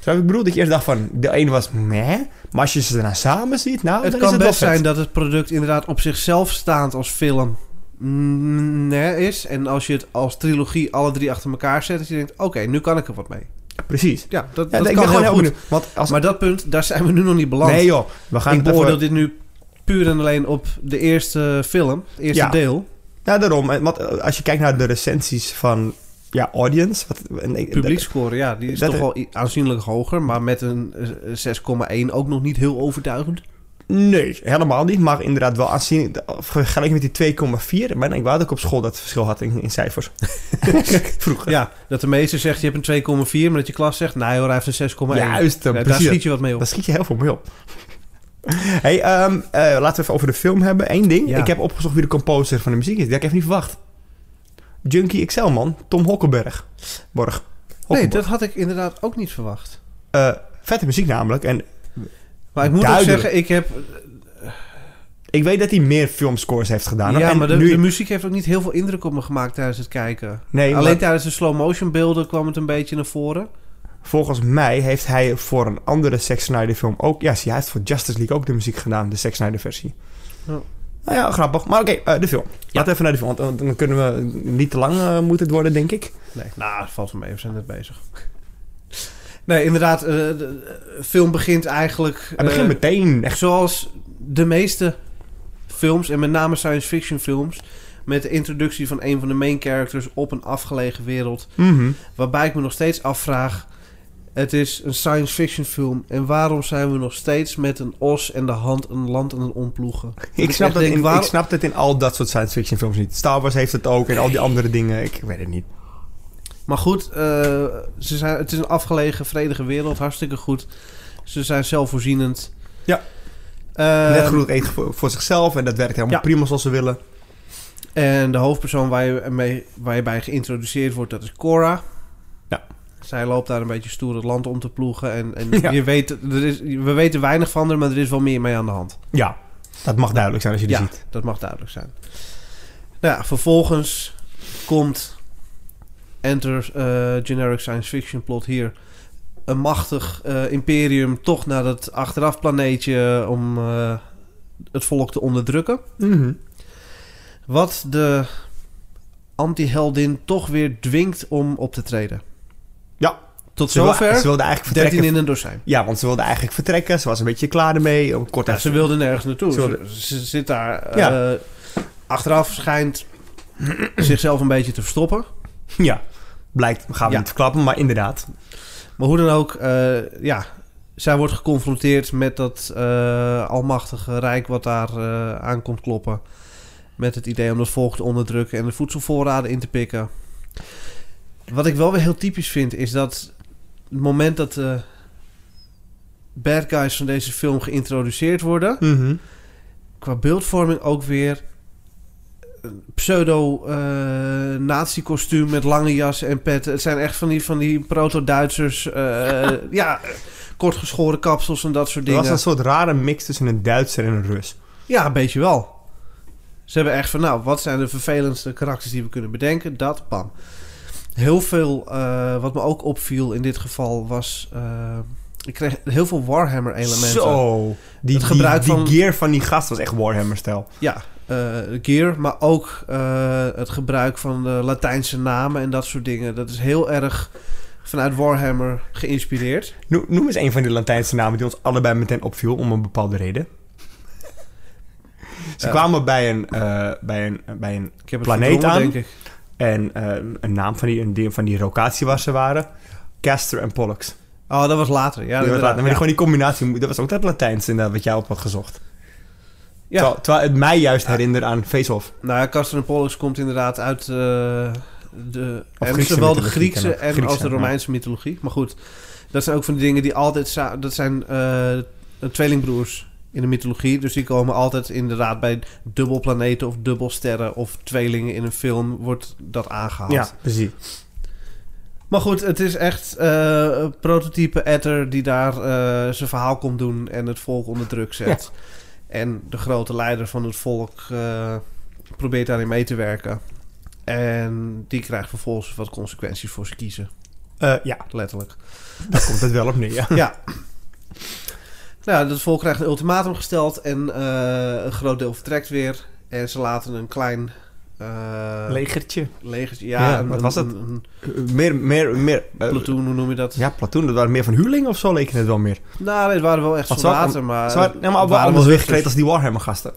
[SPEAKER 2] Zo ik bedoel dat je eerst dacht van... Deel 1 was meh. Maar als je ze daarna samen ziet, nou,
[SPEAKER 1] het
[SPEAKER 2] dan
[SPEAKER 1] kan
[SPEAKER 2] is het
[SPEAKER 1] best
[SPEAKER 2] wel vet.
[SPEAKER 1] zijn dat het product inderdaad op zichzelf staand als film mm, nee, is. En als je het als trilogie alle drie achter elkaar zet, dat je denkt, oké, nu kan ik er wat mee.
[SPEAKER 2] Precies.
[SPEAKER 1] Ja, dat,
[SPEAKER 2] Ja,
[SPEAKER 1] dat
[SPEAKER 2] ik
[SPEAKER 1] kan
[SPEAKER 2] ben
[SPEAKER 1] heel
[SPEAKER 2] gewoon heel
[SPEAKER 1] goed.
[SPEAKER 2] benieuwd. Want als...
[SPEAKER 1] Maar dat punt, daar zijn we nu nog niet beland.
[SPEAKER 2] nee joh, we gaan
[SPEAKER 1] ik
[SPEAKER 2] het even-
[SPEAKER 1] beoordeel dit nu puur en alleen op de eerste film, het eerste
[SPEAKER 2] Ja.
[SPEAKER 1] deel.
[SPEAKER 2] Ja, daarom. En wat, eh, als je kijkt naar de recensies van ja, audience. Wat, en ik-
[SPEAKER 1] Publiekscore, ja, die is
[SPEAKER 2] dat-
[SPEAKER 1] toch wel i- aanzienlijk hoger, maar met een eh, 6,1 ook nog niet heel overtuigend.
[SPEAKER 2] dat- nee, helemaal niet. Maar inderdaad wel aanzienlijk. Vergeleken met die 2,4. Maar ik wou dat ik op school dat verschil had in, in cijfers. Vroeger.
[SPEAKER 1] Ja, dat de meester zegt je hebt een 2,4, maar dat je klas zegt, nee hoor, hij heeft een 6,1.
[SPEAKER 2] Juist,
[SPEAKER 1] Ja,
[SPEAKER 2] eh,
[SPEAKER 1] daar
[SPEAKER 2] precies.
[SPEAKER 1] schiet je wat mee op.
[SPEAKER 2] Daar schiet je heel veel mee op. hey, ehm, eh, laten we even over de film hebben. Eén ding.
[SPEAKER 1] Ja.
[SPEAKER 2] Ik heb opgezocht wie de composer van de muziek is. Die had ik even niet verwacht. Junkie XL, man. Tom Hokkenberg. Borg.
[SPEAKER 1] Nee,
[SPEAKER 2] Hokkenborg.
[SPEAKER 1] dat had ik inderdaad ook niet verwacht.
[SPEAKER 2] Eh, vette muziek namelijk. En
[SPEAKER 1] Maar ik moet
[SPEAKER 2] Duidelijk.
[SPEAKER 1] ook zeggen, ik heb...
[SPEAKER 2] ik weet dat hij meer filmscores heeft gedaan.
[SPEAKER 1] ja,
[SPEAKER 2] nou, en
[SPEAKER 1] maar de,
[SPEAKER 2] nu,
[SPEAKER 1] de muziek heeft ook niet heel veel indruk op me gemaakt tijdens het kijken.
[SPEAKER 2] nee,
[SPEAKER 1] Alleen
[SPEAKER 2] maar-
[SPEAKER 1] tijdens de slow-motion beelden kwam het een beetje naar voren.
[SPEAKER 2] Volgens mij heeft hij voor een andere Zack Snyder film ook... Ja, zie, hij heeft voor Justice League ook de muziek gedaan, de Zack Snyder versie.
[SPEAKER 1] Ja.
[SPEAKER 2] Nou ja, grappig. Maar oké, eh, de film. Laten we even naar de film, want eh, dan kunnen we niet te lang eh, moet het worden, denk ik.
[SPEAKER 1] Nee, nou, dat valt wel mee. We zijn net bezig. Nee, inderdaad. eh, de de film begint eigenlijk...
[SPEAKER 2] Hij begint
[SPEAKER 1] eh,
[SPEAKER 2] meteen echt...
[SPEAKER 1] Zoals de meeste films, en met name science fiction films... met de introductie van een van de main characters op een afgelegen wereld...
[SPEAKER 2] mhm.
[SPEAKER 1] waarbij ik me nog steeds afvraag... het is een science fiction film... en waarom zijn we nog steeds met een os en de hand een land aan het omploegen?
[SPEAKER 2] ik,
[SPEAKER 1] ik
[SPEAKER 2] snap
[SPEAKER 1] echt
[SPEAKER 2] dat
[SPEAKER 1] denk,
[SPEAKER 2] in,
[SPEAKER 1] waarom-
[SPEAKER 2] ik snap dat in al dat soort science fiction films niet. Star Wars heeft het ook en al die andere dingen. Ik weet het niet.
[SPEAKER 1] Maar goed, eh, ze zijn, het is een afgelegen, vredige wereld. Hartstikke goed. Ze zijn zelfvoorzienend.
[SPEAKER 2] Ja.
[SPEAKER 1] Ehm,
[SPEAKER 2] Net genoeg eet voor, voor zichzelf en dat werkt helemaal
[SPEAKER 1] Ja.
[SPEAKER 2] prima zoals ze willen.
[SPEAKER 1] en de hoofdpersoon waar je, mee, waar je bij geïntroduceerd wordt, dat is Cora.
[SPEAKER 2] Ja.
[SPEAKER 1] Zij loopt daar een beetje stoer het land om te ploegen. En, en
[SPEAKER 2] Ja.
[SPEAKER 1] je weet, er is, we weten weinig van haar, maar er is wel meer mee aan de hand.
[SPEAKER 2] Ja, dat mag duidelijk zijn als je die
[SPEAKER 1] Ja.
[SPEAKER 2] ziet.
[SPEAKER 1] Dat mag duidelijk zijn. Nou, ja, vervolgens komt Enter eh, Generic Science Fiction Plot hier. Een machtig eh, imperium toch naar dat achteraf planeetje om eh, het volk te onderdrukken.
[SPEAKER 2] Mhm.
[SPEAKER 1] Wat de anti-heldin toch weer dwingt om op te treden.
[SPEAKER 2] Ja.
[SPEAKER 1] Tot
[SPEAKER 2] Ze wilde-
[SPEAKER 1] zover
[SPEAKER 2] Ze wilden eigenlijk
[SPEAKER 1] 13
[SPEAKER 2] vertrekken
[SPEAKER 1] in een dozijn.
[SPEAKER 2] Ja, want ze wilde eigenlijk vertrekken. Ze was een beetje klaar ermee. Om Kort
[SPEAKER 1] Ja, ze wilde nergens naartoe.
[SPEAKER 2] Ze
[SPEAKER 1] Ze,
[SPEAKER 2] wilde-
[SPEAKER 1] ze zit daar. eh,
[SPEAKER 2] Ja.
[SPEAKER 1] achteraf schijnt zichzelf een beetje te verstoppen.
[SPEAKER 2] Ja, blijkt. Gaan we
[SPEAKER 1] Ja.
[SPEAKER 2] niet verklappen, maar inderdaad.
[SPEAKER 1] Maar hoe dan ook, eh, ja, zij wordt geconfronteerd met dat eh, almachtige rijk wat daar eh aan komt kloppen. Met het idee om het volk te onderdrukken en de voedselvoorraden in te pikken. Wat ik wel weer heel typisch vind, is dat het moment dat de bad guys van deze film geïntroduceerd worden, qua beeldvorming ook weer een pseudo eh nazi kostuum met lange jassen en petten. Het zijn echt van die, van die proto-Duitsers. eh, ja, kortgeschoren kapsels en dat soort
[SPEAKER 2] Er was
[SPEAKER 1] dingen.
[SPEAKER 2] een soort rare mix tussen een Duitser en een Rus.
[SPEAKER 1] Ja, een beetje wel. Ze hebben echt van, nou, wat zijn de vervelendste karakters die we kunnen bedenken? Dat, bam. Heel veel, eh, wat me ook opviel in dit geval, was... eh, ik kreeg heel veel Warhammer-elementen.
[SPEAKER 2] Zo. Die,
[SPEAKER 1] Het gebruik
[SPEAKER 2] die, die
[SPEAKER 1] van-
[SPEAKER 2] gear van die gast was echt Warhammer-stijl.
[SPEAKER 1] Ja, eh, gear, maar ook eh, het gebruik van de Latijnse namen en dat soort dingen. Dat is heel erg vanuit Warhammer geïnspireerd.
[SPEAKER 2] No- Noem eens een van die Latijnse namen die ons allebei meteen opviel om een bepaalde reden. Ze
[SPEAKER 1] Ja.
[SPEAKER 2] kwamen bij een, eh, bij een, bij een
[SPEAKER 1] Ik heb het
[SPEAKER 2] Planeet
[SPEAKER 1] verdrongen,
[SPEAKER 2] aan.
[SPEAKER 1] denk ik.
[SPEAKER 2] En eh, een naam van die, een deel van die locatie waar ze waren. Castor en Pollux.
[SPEAKER 1] Oh, dat was later. Ja,
[SPEAKER 2] Die was
[SPEAKER 1] inderdaad.
[SPEAKER 2] later- maar die-
[SPEAKER 1] Ja.
[SPEAKER 2] gewoon die combinatie, moet- dat was ook dat Latijns inderdaad, wat jij op had gezocht.
[SPEAKER 1] Ja.
[SPEAKER 2] Terwijl, terwijl het mij juist herinnerde aan Face-Off.
[SPEAKER 1] Nou ja, Castor en Pollux komt inderdaad uit eh, de,
[SPEAKER 2] Of
[SPEAKER 1] en
[SPEAKER 2] Griekse
[SPEAKER 1] zowel de
[SPEAKER 2] mythologie
[SPEAKER 1] Griekse
[SPEAKER 2] kennen we.
[SPEAKER 1] en
[SPEAKER 2] Griekse,
[SPEAKER 1] als de
[SPEAKER 2] ja.
[SPEAKER 1] Romeinse mythologie. Maar goed, dat zijn ook van die dingen die altijd... sa- Dat zijn eh, tweelingbroers in de mythologie. Dus die komen altijd inderdaad bij dubbelplaneten of dubbelsterren... of tweelingen in een film wordt dat aangehaald.
[SPEAKER 2] precies.
[SPEAKER 1] Maar goed, het is echt eh, een prototype Etter die daar eh, zijn verhaal komt doen en het volk onder druk zet. En de grote leider van het volk eh, probeert daarin mee te werken. En die krijgt vervolgens wat consequenties voor zijn kiezen,
[SPEAKER 2] Eh, ja,
[SPEAKER 1] letterlijk.
[SPEAKER 2] daar komt het wel op neer. Ja.
[SPEAKER 1] ja. Nou, het volk krijgt een ultimatum gesteld en eh, een groot deel vertrekt weer. En ze laten een klein eh,
[SPEAKER 2] Legertje.
[SPEAKER 1] leger... Ja,
[SPEAKER 2] Ja,
[SPEAKER 1] een-
[SPEAKER 2] wat was
[SPEAKER 1] een-
[SPEAKER 2] het?
[SPEAKER 1] Een, een
[SPEAKER 2] Eh, Meer, meer, meer. eh,
[SPEAKER 1] platoon, hoe noem je dat?
[SPEAKER 2] ja, platoon, dat waren meer van huurlingen of zo leken het wel meer.
[SPEAKER 1] Nou, nee, het waren wel echt
[SPEAKER 2] Want ze waren-
[SPEAKER 1] soldaten, maar...
[SPEAKER 2] Ze waren, nee, maar
[SPEAKER 1] waren
[SPEAKER 2] anders
[SPEAKER 1] wel
[SPEAKER 2] weggekleed als
[SPEAKER 1] vechters.
[SPEAKER 2] die Warhammer gasten.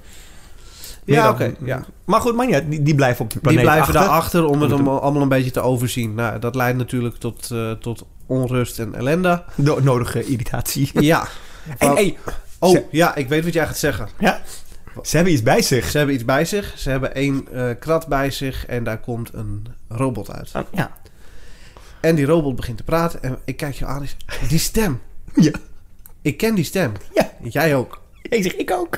[SPEAKER 2] Meer
[SPEAKER 1] Ja,
[SPEAKER 2] dan-
[SPEAKER 1] oké, ja.
[SPEAKER 2] Maar goed, maar niet uit, die, die blijven op
[SPEAKER 1] Die
[SPEAKER 2] die planeet
[SPEAKER 1] blijven
[SPEAKER 2] achter.
[SPEAKER 1] daarachter om het
[SPEAKER 2] Moeten-
[SPEAKER 1] allemaal, allemaal een beetje te overzien. Nou, dat leidt natuurlijk tot, eh, tot onrust en ellende.
[SPEAKER 2] De nodige irritatie.
[SPEAKER 1] Ja.
[SPEAKER 2] En
[SPEAKER 1] Wou-
[SPEAKER 2] hey,
[SPEAKER 1] oh,
[SPEAKER 2] ze-
[SPEAKER 1] ja, ik weet wat jij gaat zeggen.
[SPEAKER 2] ze hebben iets bij zich.
[SPEAKER 1] Ze hebben iets bij zich. Ze hebben één eh, krat bij zich en daar komt een robot uit.
[SPEAKER 2] Ja.
[SPEAKER 1] En die robot begint te praten en ik kijk je aan en ik zeg, die stem.
[SPEAKER 2] Ja.
[SPEAKER 1] Ik ken die stem.
[SPEAKER 2] Ja.
[SPEAKER 1] Jij ook.
[SPEAKER 2] Ik zeg, ik ook.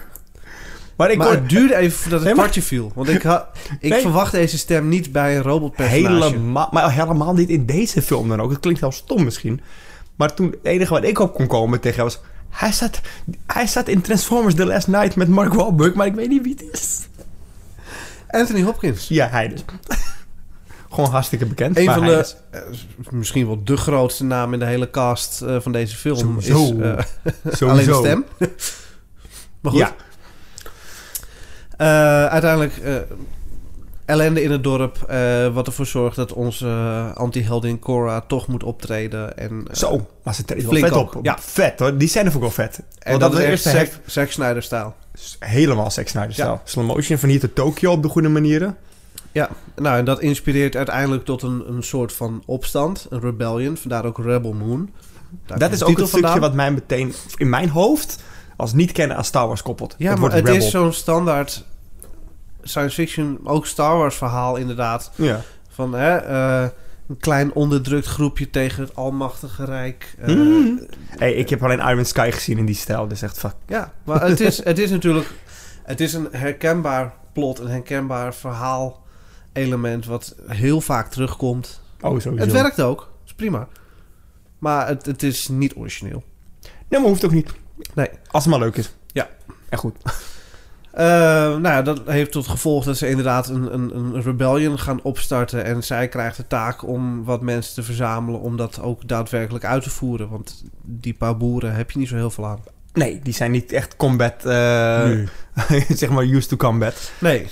[SPEAKER 2] Maar ik
[SPEAKER 1] maar
[SPEAKER 2] word
[SPEAKER 1] het duurde even voordat het
[SPEAKER 2] Nee, maar-
[SPEAKER 1] kwartje viel. Want ik, had, ik
[SPEAKER 2] Nee.
[SPEAKER 1] verwacht deze stem niet bij een robotpersonage.
[SPEAKER 2] helemaal, maar helemaal niet in deze film dan ook. Het klinkt heel stom misschien. Maar toen het enige wat ik op kon komen tegen was... Hij zat, hij zat in Transformers The Last Night met Mark Wahlberg, maar ik weet niet wie het is.
[SPEAKER 1] Anthony Hopkins.
[SPEAKER 2] Ja, hij dus. Gewoon hartstikke bekend.
[SPEAKER 1] Een
[SPEAKER 2] maar
[SPEAKER 1] van
[SPEAKER 2] hij
[SPEAKER 1] de,
[SPEAKER 2] dus.
[SPEAKER 1] eh, misschien wel de grootste naam in de hele cast eh, van deze film
[SPEAKER 2] Sowieso.
[SPEAKER 1] is eh,
[SPEAKER 2] Sowieso.
[SPEAKER 1] alleen de stem. maar goed,
[SPEAKER 2] Ja,
[SPEAKER 1] eh, uiteindelijk eh, ellende in het dorp, eh, wat ervoor zorgt dat onze eh, anti-heldin Cora toch moet optreden. En, eh,
[SPEAKER 2] zo. Maar ze treedt wel
[SPEAKER 1] Flink
[SPEAKER 2] vet
[SPEAKER 1] ook,
[SPEAKER 2] op.
[SPEAKER 1] ja.
[SPEAKER 2] Vet hoor. Die scène vond ik wel vet.
[SPEAKER 1] en
[SPEAKER 2] Want
[SPEAKER 1] dat,
[SPEAKER 2] was
[SPEAKER 1] is
[SPEAKER 2] de
[SPEAKER 1] echt Zack,
[SPEAKER 2] eerste
[SPEAKER 1] Zack Snyder-stijl.
[SPEAKER 2] hef- helemaal Zack Snyder stijl.
[SPEAKER 1] Ja.
[SPEAKER 2] Slow motion van hier tot Tokio op de goede manieren.
[SPEAKER 1] Nou, en dat inspireert uiteindelijk tot een, een soort van opstand, een rebellion, vandaar ook Rebel Moon. Daar
[SPEAKER 2] dat
[SPEAKER 1] komt
[SPEAKER 2] is
[SPEAKER 1] de
[SPEAKER 2] ook
[SPEAKER 1] titel
[SPEAKER 2] het stukje
[SPEAKER 1] vandaan.
[SPEAKER 2] wat mij meteen in mijn hoofd als niet kennen aan Star Wars koppelt.
[SPEAKER 1] Ja, maar
[SPEAKER 2] het wordt
[SPEAKER 1] het
[SPEAKER 2] Rebel.
[SPEAKER 1] is zo'n standaard science fiction, ook Star Wars verhaal inderdaad.
[SPEAKER 2] Ja.
[SPEAKER 1] Van hè, eh, een klein onderdrukt groepje tegen het almachtige rijk. eh,
[SPEAKER 2] Hmm. Hey, ik heb alleen Iron Sky gezien in die stijl, dus echt fuck.
[SPEAKER 1] Ja, maar het is, het is natuurlijk... Het is een herkenbaar plot, een herkenbaar verhaal element... wat heel vaak terugkomt.
[SPEAKER 2] Oh, sowieso.
[SPEAKER 1] Het werkt ook, is prima. Maar het, het is niet origineel.
[SPEAKER 2] Nee, maar hoeft ook niet.
[SPEAKER 1] Nee.
[SPEAKER 2] Als het maar leuk is.
[SPEAKER 1] Ja.
[SPEAKER 2] En goed.
[SPEAKER 1] Eh, nou ja, dat heeft tot gevolg dat ze inderdaad een, een, een rebellion gaan opstarten. En zij krijgt de taak om wat mensen te verzamelen... om dat ook daadwerkelijk uit te voeren. Want die paar boeren heb je niet zo heel veel aan.
[SPEAKER 2] Nee, die zijn niet echt combat, eh, zeg maar used to combat.
[SPEAKER 1] Nee,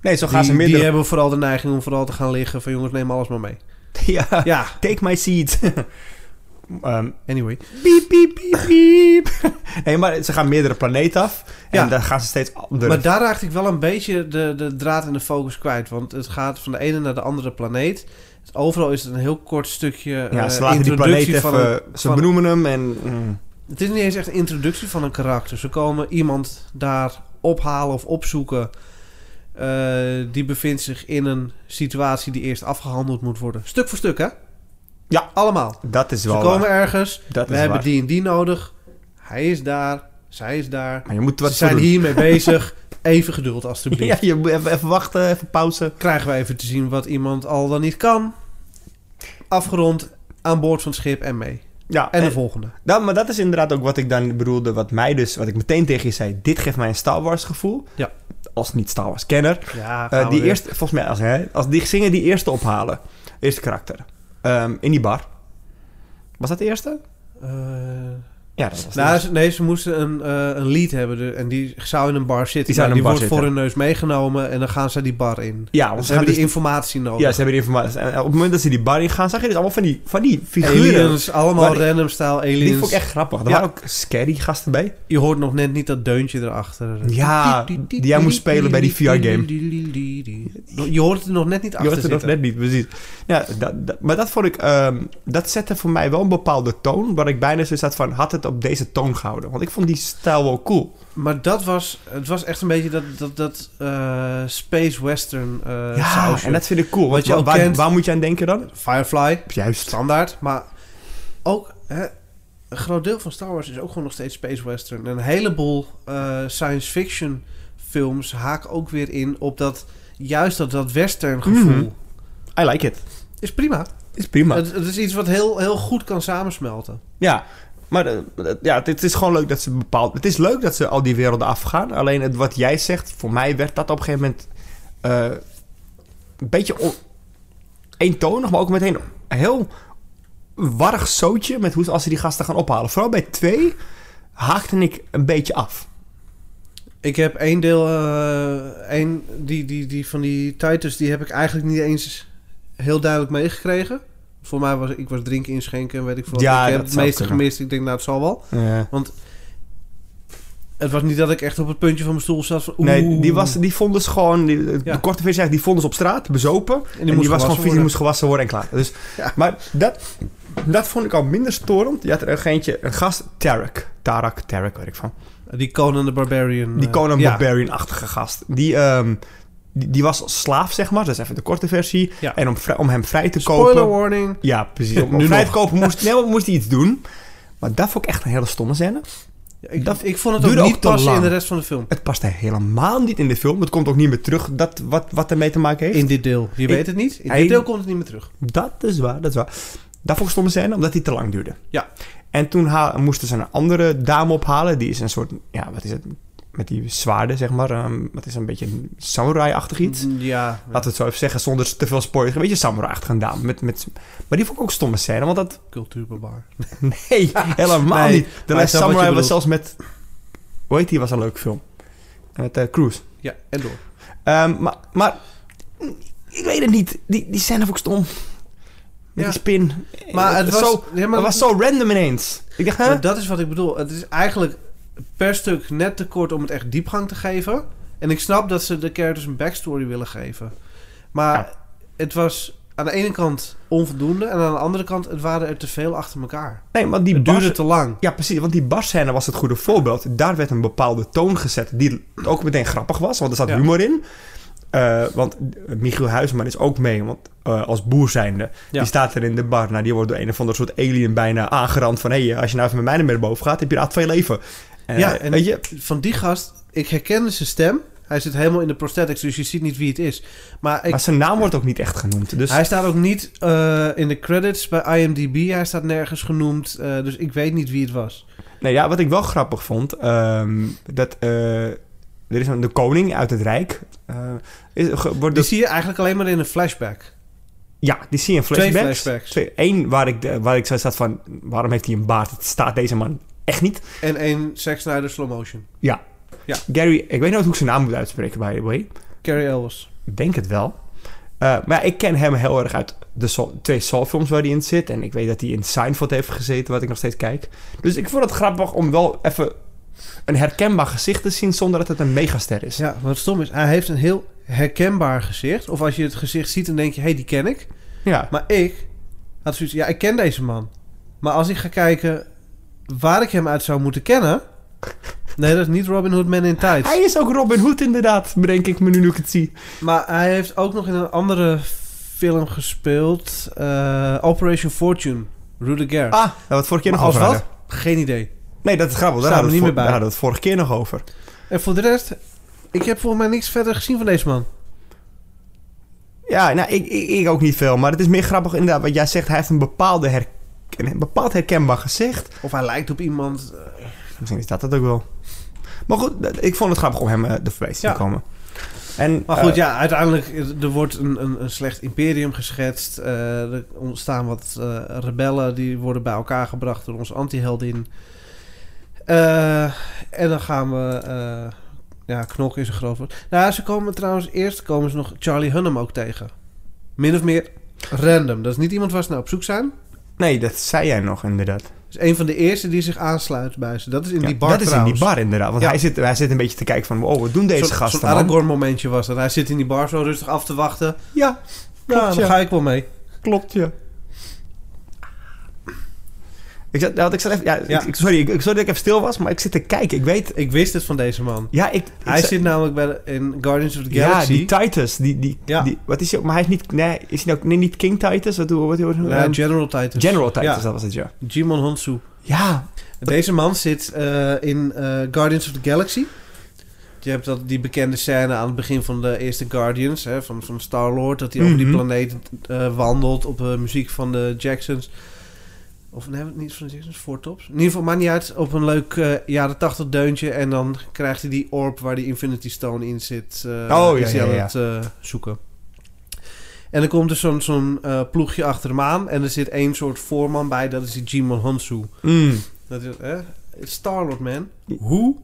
[SPEAKER 2] Nee, zo gaan ze
[SPEAKER 1] die, die
[SPEAKER 2] midden.
[SPEAKER 1] hebben vooral de neiging om vooral te gaan liggen... van jongens, neem alles maar mee.
[SPEAKER 2] Ja,
[SPEAKER 1] Ja,
[SPEAKER 2] take my seat. Ehm
[SPEAKER 1] anyway.
[SPEAKER 2] piep, piep, piep, piep. nee, maar ze gaan meerdere planeten af. En
[SPEAKER 1] Ja.
[SPEAKER 2] dan gaan ze steeds andere.
[SPEAKER 1] Maar daar raakte ik wel een beetje de, de draad en de focus kwijt. Want het gaat van de ene naar de andere planeet. Overal is het een heel kort stukje
[SPEAKER 2] ja,
[SPEAKER 1] eh,
[SPEAKER 2] ze laten die planeet
[SPEAKER 1] introductie
[SPEAKER 2] even... eh,
[SPEAKER 1] van... een-
[SPEAKER 2] ze
[SPEAKER 1] van-
[SPEAKER 2] benoemen hem en... mm.
[SPEAKER 1] het is niet eens echt een introductie van een karakter. Ze komen iemand daar ophalen of opzoeken. Eh, die bevindt zich in een situatie die eerst afgehandeld moet worden. Stuk voor stuk, hè?
[SPEAKER 2] Ja.
[SPEAKER 1] Allemaal.
[SPEAKER 2] Dat is
[SPEAKER 1] Ze
[SPEAKER 2] wel
[SPEAKER 1] komen
[SPEAKER 2] waar.
[SPEAKER 1] ergens.
[SPEAKER 2] Dat
[SPEAKER 1] We
[SPEAKER 2] is
[SPEAKER 1] hebben
[SPEAKER 2] waar.
[SPEAKER 1] die en die nodig. Hij is daar. Zij is daar.
[SPEAKER 2] Maar je moet wat
[SPEAKER 1] Ze zijn
[SPEAKER 2] voor doen.
[SPEAKER 1] hiermee bezig. Even geduld, alstublieft.
[SPEAKER 2] Ja, je moet even, even wachten, even pauze.
[SPEAKER 1] krijgen we even te zien wat iemand al dan niet kan. Afgerond aan boord van het schip en mee.
[SPEAKER 2] Ja,
[SPEAKER 1] En de
[SPEAKER 2] en-
[SPEAKER 1] volgende.
[SPEAKER 2] Dat, maar dat is inderdaad ook wat ik dan bedoelde, wat mij dus, wat ik meteen tegen je zei, dit geeft mij een Star Wars gevoel.
[SPEAKER 1] Ja.
[SPEAKER 2] Als niet Star Wars kenner.
[SPEAKER 1] Ja,
[SPEAKER 2] Eh, die eerste, volgens mij, als, hè, als die zingen die eerste ophalen,
[SPEAKER 1] Eh,
[SPEAKER 2] eerste karakter, Ehm, in die bar. Was dat de eerste? Ja, dat was
[SPEAKER 1] Nou, ze- nee, ze moesten een, eh, een lead hebben de- en die zou in een bar zitten.
[SPEAKER 2] Die zou in
[SPEAKER 1] Nou,
[SPEAKER 2] een
[SPEAKER 1] wordt
[SPEAKER 2] bar
[SPEAKER 1] voor
[SPEAKER 2] zitten.
[SPEAKER 1] hun neus meegenomen en dan gaan ze die bar in.
[SPEAKER 2] Ja,
[SPEAKER 1] Ze
[SPEAKER 2] want ze
[SPEAKER 1] hebben
[SPEAKER 2] hebben
[SPEAKER 1] die
[SPEAKER 2] dus,
[SPEAKER 1] informatie nodig.
[SPEAKER 2] ja, ze hebben die informatie. En op het moment dat ze die bar in gaan, zag je dus allemaal van die, van die figuren.
[SPEAKER 1] aliens, allemaal
[SPEAKER 2] Maar-
[SPEAKER 1] random style
[SPEAKER 2] die
[SPEAKER 1] aliens.
[SPEAKER 2] vond ik echt grappig. Er
[SPEAKER 1] Ja.
[SPEAKER 2] waren ook scary gasten bij.
[SPEAKER 1] Je hoort nog net niet dat deuntje erachter.
[SPEAKER 2] Ja, die jij moest spelen bij die VR-game.
[SPEAKER 1] Je hoort het er nog net niet
[SPEAKER 2] Je
[SPEAKER 1] achter
[SPEAKER 2] hoort het nog
[SPEAKER 1] zitten.
[SPEAKER 2] net niet, precies. Ja, dat, dat- maar dat vond ik... ehm, dat zette voor mij wel een bepaalde toon... waar ik bijna zo zat van... had het op deze toon gehouden? Want ik vond die stijl wel cool.
[SPEAKER 1] Maar dat was, het was echt een beetje dat, dat, dat eh, space western eh
[SPEAKER 2] ja,
[SPEAKER 1] sausje.
[SPEAKER 2] en dat vind ik cool. Want
[SPEAKER 1] je
[SPEAKER 2] wa-
[SPEAKER 1] ook
[SPEAKER 2] waar,
[SPEAKER 1] kent-
[SPEAKER 2] waar moet je aan denken dan?
[SPEAKER 1] Firefly,
[SPEAKER 2] Juist.
[SPEAKER 1] standaard. Maar ook, hè, een groot deel van Star Wars is ook gewoon nog steeds space western. En een heleboel eh, science fiction films haken ook weer in op dat, juist dat, dat western gevoel.
[SPEAKER 2] Mhm. Nou. I like it.
[SPEAKER 1] Is prima.
[SPEAKER 2] Is prima.
[SPEAKER 1] Het, het is iets wat heel, heel goed kan samensmelten.
[SPEAKER 2] Ja, maar eh, eh, ja, het, het is gewoon leuk dat ze bepaald... Het is leuk dat ze al die werelden afgaan. Alleen het, wat jij zegt, voor mij werd dat op een gegeven moment... eh, een beetje on- eentonig, maar ook meteen een heel warrig zootje... met hoe als ze die gasten gaan ophalen. Vooral bij twee haakte ik een beetje af.
[SPEAKER 1] Ik heb één deel, eh, één, die, die, die van die Titus, die heb ik eigenlijk niet eens heel duidelijk meegekregen. Voor mij was ik was drinken inschenken en weet ik veel. wat.
[SPEAKER 2] Ja,
[SPEAKER 1] ik heb
[SPEAKER 2] dat
[SPEAKER 1] het
[SPEAKER 2] zou
[SPEAKER 1] meeste
[SPEAKER 2] kunnen.
[SPEAKER 1] gemist. Ik denk, nou, het zal wel. Het was niet dat ik echt op het puntje van mijn stoel zat van... Oeh,
[SPEAKER 2] Nee, die, was, die vonden ze gewoon... Die,
[SPEAKER 1] Ja.
[SPEAKER 2] De korte versie zegt, die vonden ze op straat, bezopen.
[SPEAKER 1] en
[SPEAKER 2] En die, was gewoon vies, die
[SPEAKER 1] worden.
[SPEAKER 2] moest gewassen worden en klaar. Dus,
[SPEAKER 1] Ja.
[SPEAKER 2] Maar dat, dat vond ik al minder storend. Je had er een eentje, een gast, Tarek. Tarak, Tarek, weet ik van.
[SPEAKER 1] Die Conan the Barbarian.
[SPEAKER 2] Die
[SPEAKER 1] eh,
[SPEAKER 2] Conan
[SPEAKER 1] ja.
[SPEAKER 2] Barbarian-achtige gast. Die, ehm, die, die was slaaf, zeg maar. Dat is even de korte versie.
[SPEAKER 1] Ja.
[SPEAKER 2] En om, vrij- om hem vrij te
[SPEAKER 1] Spoiler
[SPEAKER 2] kopen...
[SPEAKER 1] warning.
[SPEAKER 2] Ja, precies. Om, om
[SPEAKER 1] Nu
[SPEAKER 2] vrij
[SPEAKER 1] nog.
[SPEAKER 2] te kopen moest, nee, maar moest hij iets doen. Maar dat vond ik echt een hele stomme scène.
[SPEAKER 1] Ja, ik,
[SPEAKER 2] Dat
[SPEAKER 1] ik vond het
[SPEAKER 2] duurde
[SPEAKER 1] ook
[SPEAKER 2] ook
[SPEAKER 1] niet
[SPEAKER 2] te
[SPEAKER 1] passen in
[SPEAKER 2] lang.
[SPEAKER 1] de rest van de film.
[SPEAKER 2] Het paste helemaal niet in de film. Het komt ook niet meer terug dat, wat, wat ermee te maken heeft.
[SPEAKER 1] In dit deel. Je
[SPEAKER 2] Ik-
[SPEAKER 1] weet het niet. In
[SPEAKER 2] Hij-
[SPEAKER 1] dit deel komt het niet meer terug.
[SPEAKER 2] Dat is waar, dat is waar. Daarvoor gestopt zijn, omdat die te lang duurde.
[SPEAKER 1] Ja.
[SPEAKER 2] En toen ha- moesten ze een andere dame ophalen. Die is een soort, ja, wat is het? Met die zwaarden, zeg maar. ehm, wat is een beetje een samurai-achtig iets.
[SPEAKER 1] Mhm. Mm, Ja.
[SPEAKER 2] Laten we het zo even zeggen, zonder te veel spoilers. Een beetje samurai-achtig een dame. Met, met, maar die vond ik ook stomme scène, want dat...
[SPEAKER 1] Cultuurbarbaar.
[SPEAKER 2] Nee, helemaal
[SPEAKER 1] Nee,
[SPEAKER 2] niet. De
[SPEAKER 1] maar ik snap wat
[SPEAKER 2] Last
[SPEAKER 1] je
[SPEAKER 2] Samurai
[SPEAKER 1] bedoelt.
[SPEAKER 2] was zelfs met... Hoe heet die? was een leuke film. Met eh Cruise.
[SPEAKER 1] Ja, en door.
[SPEAKER 2] Ehm, maar, maar... Ik weet het niet. Die, die scène vond ik stom. Met
[SPEAKER 1] Ja.
[SPEAKER 2] die spin. Eh,
[SPEAKER 1] Maar het was...
[SPEAKER 2] Zo,
[SPEAKER 1] ja, maar
[SPEAKER 2] maar dat was zo random ineens. Ik dacht, hè?
[SPEAKER 1] Maar dat is wat ik bedoel. Het is eigenlijk per stuk net te kort om het echt diepgang te geven. En ik snap dat ze de characters een backstory willen geven. Maar
[SPEAKER 2] Ja.
[SPEAKER 1] het was aan de ene kant onvoldoende. En aan de andere kant, het waren er te veel achter elkaar.
[SPEAKER 2] Nee, want die
[SPEAKER 1] Het
[SPEAKER 2] bar...
[SPEAKER 1] duurde te lang.
[SPEAKER 2] Ja, precies. Want die barscène was het goede voorbeeld. Daar werd een bepaalde toon gezet die ook meteen grappig was. Want er zat
[SPEAKER 1] Ja.
[SPEAKER 2] humor in. Eh, want Michiel Huisman is ook mee, want eh, als boer zijnde.
[SPEAKER 1] Ja.
[SPEAKER 2] Die staat er in de bar. Nou, die wordt door een of ander soort alien bijna aangerand van... hé, hey, als je nou even met mij naar boven gaat, heb je raad van je leven. Eh,
[SPEAKER 1] Ja, en-
[SPEAKER 2] weet je?
[SPEAKER 1] Van die gast, ik herkende zijn stem. Hij zit helemaal in de prosthetics, dus je ziet niet wie het is. Maar, ik,
[SPEAKER 2] Maar zijn naam wordt ook niet echt genoemd. Dus
[SPEAKER 1] hij staat ook niet eh, in de credits bij IMDb. Hij staat nergens genoemd. eh, dus ik weet niet wie het was.
[SPEAKER 2] Nee, ja, wat ik wel grappig vond, ehm, dat eh, er is een, de koning uit het Rijk. eh, is, ge- wordt
[SPEAKER 1] Die
[SPEAKER 2] dus
[SPEAKER 1] zie je eigenlijk alleen maar in een flashback.
[SPEAKER 2] ja, die zie je in flashbacks.
[SPEAKER 1] Twee flashbacks.
[SPEAKER 2] Twee- Eén waar ik, de, waar ik zo zat van, waarom heeft hij een baard? Het staat deze man echt niet.
[SPEAKER 1] En één Zack Snyder slow motion.
[SPEAKER 2] Gary, ik weet nooit hoe ik zijn naam moet uitspreken, by the way.
[SPEAKER 1] Carrie Elwes.
[SPEAKER 2] Ik denk het wel. Eh, maar ja, ik ken hem heel erg uit de Saw- twee Saw-films waar hij in zit. En ik weet dat hij in Seinfeld heeft gezeten, wat ik nog steeds kijk. Dus ik vond het grappig om wel even een herkenbaar gezicht te zien zonder dat het een megaster is.
[SPEAKER 1] Ja, wat stom is, hij heeft een heel herkenbaar gezicht. Of als je het gezicht ziet, dan denk je, hé, hey, die ken ik.
[SPEAKER 2] ja.
[SPEAKER 1] Maar ik had zoiets, ja, ik ken deze man. Maar als ik ga kijken waar ik hem uit zou moeten kennen... Nee, dat is niet Robin Hood Man in Tights.
[SPEAKER 2] Hij is ook Robin Hood inderdaad, bedenk ik me nu, nu ik het zie.
[SPEAKER 1] Maar hij heeft ook nog in een andere film gespeeld. eh, Operation Fortune. Rudy Gare.
[SPEAKER 2] Ah, dat we het vorige keer
[SPEAKER 1] Maar
[SPEAKER 2] nog
[SPEAKER 1] als
[SPEAKER 2] over
[SPEAKER 1] wat?
[SPEAKER 2] hadden.
[SPEAKER 1] Geen idee.
[SPEAKER 2] Nee, dat is grappig. Daar
[SPEAKER 1] Staan
[SPEAKER 2] hadden,
[SPEAKER 1] we niet
[SPEAKER 2] we het voor-
[SPEAKER 1] meer bij.
[SPEAKER 2] daar hadden we het vorige keer nog over.
[SPEAKER 1] En voor de rest, ik heb volgens mij niks verder gezien van deze man.
[SPEAKER 2] Ja, nou, ik, ik, ik ook niet veel. Maar het is meer grappig inderdaad wat jij zegt. Hij heeft een, bepaalde her- een bepaald herkenbaar gezicht.
[SPEAKER 1] Of hij lijkt op iemand. eh,
[SPEAKER 2] Misschien is dat het ook wel. Maar goed, dat- ik vond het grappig om hem eh, er voorbij te zien
[SPEAKER 1] Ja.
[SPEAKER 2] komen. En,
[SPEAKER 1] Maar goed,
[SPEAKER 2] eh,
[SPEAKER 1] ja, uiteindelijk eh, er wordt een, een, een slecht imperium geschetst. Eh, er ontstaan wat eh, rebellen die worden bij elkaar gebracht door onze antiheldin. Eh, en dan gaan we... eh, ja, knokken is een groot woord. Nou, ze komen trouwens... Eerst komen ze nog Charlie Hunnam ook tegen. Min of meer random. Dat is niet iemand waar ze naar op zoek zijn.
[SPEAKER 2] Nee, dat zei jij nog inderdaad.
[SPEAKER 1] Dat is een van de eerste die zich aansluit bij ze. Dat is in
[SPEAKER 2] Ja,
[SPEAKER 1] die bar
[SPEAKER 2] dat is in
[SPEAKER 1] trouwens.
[SPEAKER 2] die bar inderdaad. Want
[SPEAKER 1] Ja.
[SPEAKER 2] hij, zit, hij zit een beetje te kijken van... Wow, wat doen deze
[SPEAKER 1] Zo'n-
[SPEAKER 2] gasten
[SPEAKER 1] Zo'n
[SPEAKER 2] man?
[SPEAKER 1] Aragorn momentje was dat. Hij zit in die bar zo rustig af te wachten.
[SPEAKER 2] Ja,
[SPEAKER 1] Nou,
[SPEAKER 2] klopt
[SPEAKER 1] dan
[SPEAKER 2] ja.
[SPEAKER 1] ga ik wel mee.
[SPEAKER 2] Klopt ja. Ik zat, nou, ik zat even, ja,
[SPEAKER 1] Ja.
[SPEAKER 2] Ik, ik- sorry, ik, ik- sorry dat ik even stil was, maar ik zit te kijken. Ik weet...
[SPEAKER 1] Ik wist het van deze man.
[SPEAKER 2] Ja, ik... ik
[SPEAKER 1] Hij
[SPEAKER 2] zat-
[SPEAKER 1] zit namelijk bij de- in Guardians of the
[SPEAKER 2] ja,
[SPEAKER 1] Galaxy.
[SPEAKER 2] die Titus. Die, die,
[SPEAKER 1] Ja.
[SPEAKER 2] die, wat is hij ook? Maar hij is niet... Nee, is hij nou nee, niet King Titus? Wat, wat, wat, wat,
[SPEAKER 1] Nou,
[SPEAKER 2] ehm,
[SPEAKER 1] General Titus.
[SPEAKER 2] General Titus,
[SPEAKER 1] Ja.
[SPEAKER 2] dat was het, ja.
[SPEAKER 1] Jimon Honsu.
[SPEAKER 2] Ja,
[SPEAKER 1] Deze man zit eh, in eh, Guardians of the Galaxy. Je hebt dat, die bekende scène aan het begin van de eerste Guardians, hè, van, van Star-Lord... dat hij over die
[SPEAKER 2] Mhm.
[SPEAKER 1] planeet eh, wandelt op eh, muziek van de Jacksons. Of nee, niet van de Jacksons, Four Tops. In ieder geval, maakt niet uit, op een leuk eh, jaren tachtig deuntje... en dan krijgt hij die orb waar die Infinity Stone in zit. eh,
[SPEAKER 2] Oh, ja,
[SPEAKER 1] is hij
[SPEAKER 2] ja,
[SPEAKER 1] aan
[SPEAKER 2] ja.
[SPEAKER 1] het eh, zoeken. En dan komt er zo'n zo'n, eh, ploegje achter hem aan... en er zit één soort voorman bij, dat is die Jimon Honsu.
[SPEAKER 2] Mm.
[SPEAKER 1] Dat is, hè? Starlord, man.
[SPEAKER 2] Hoe?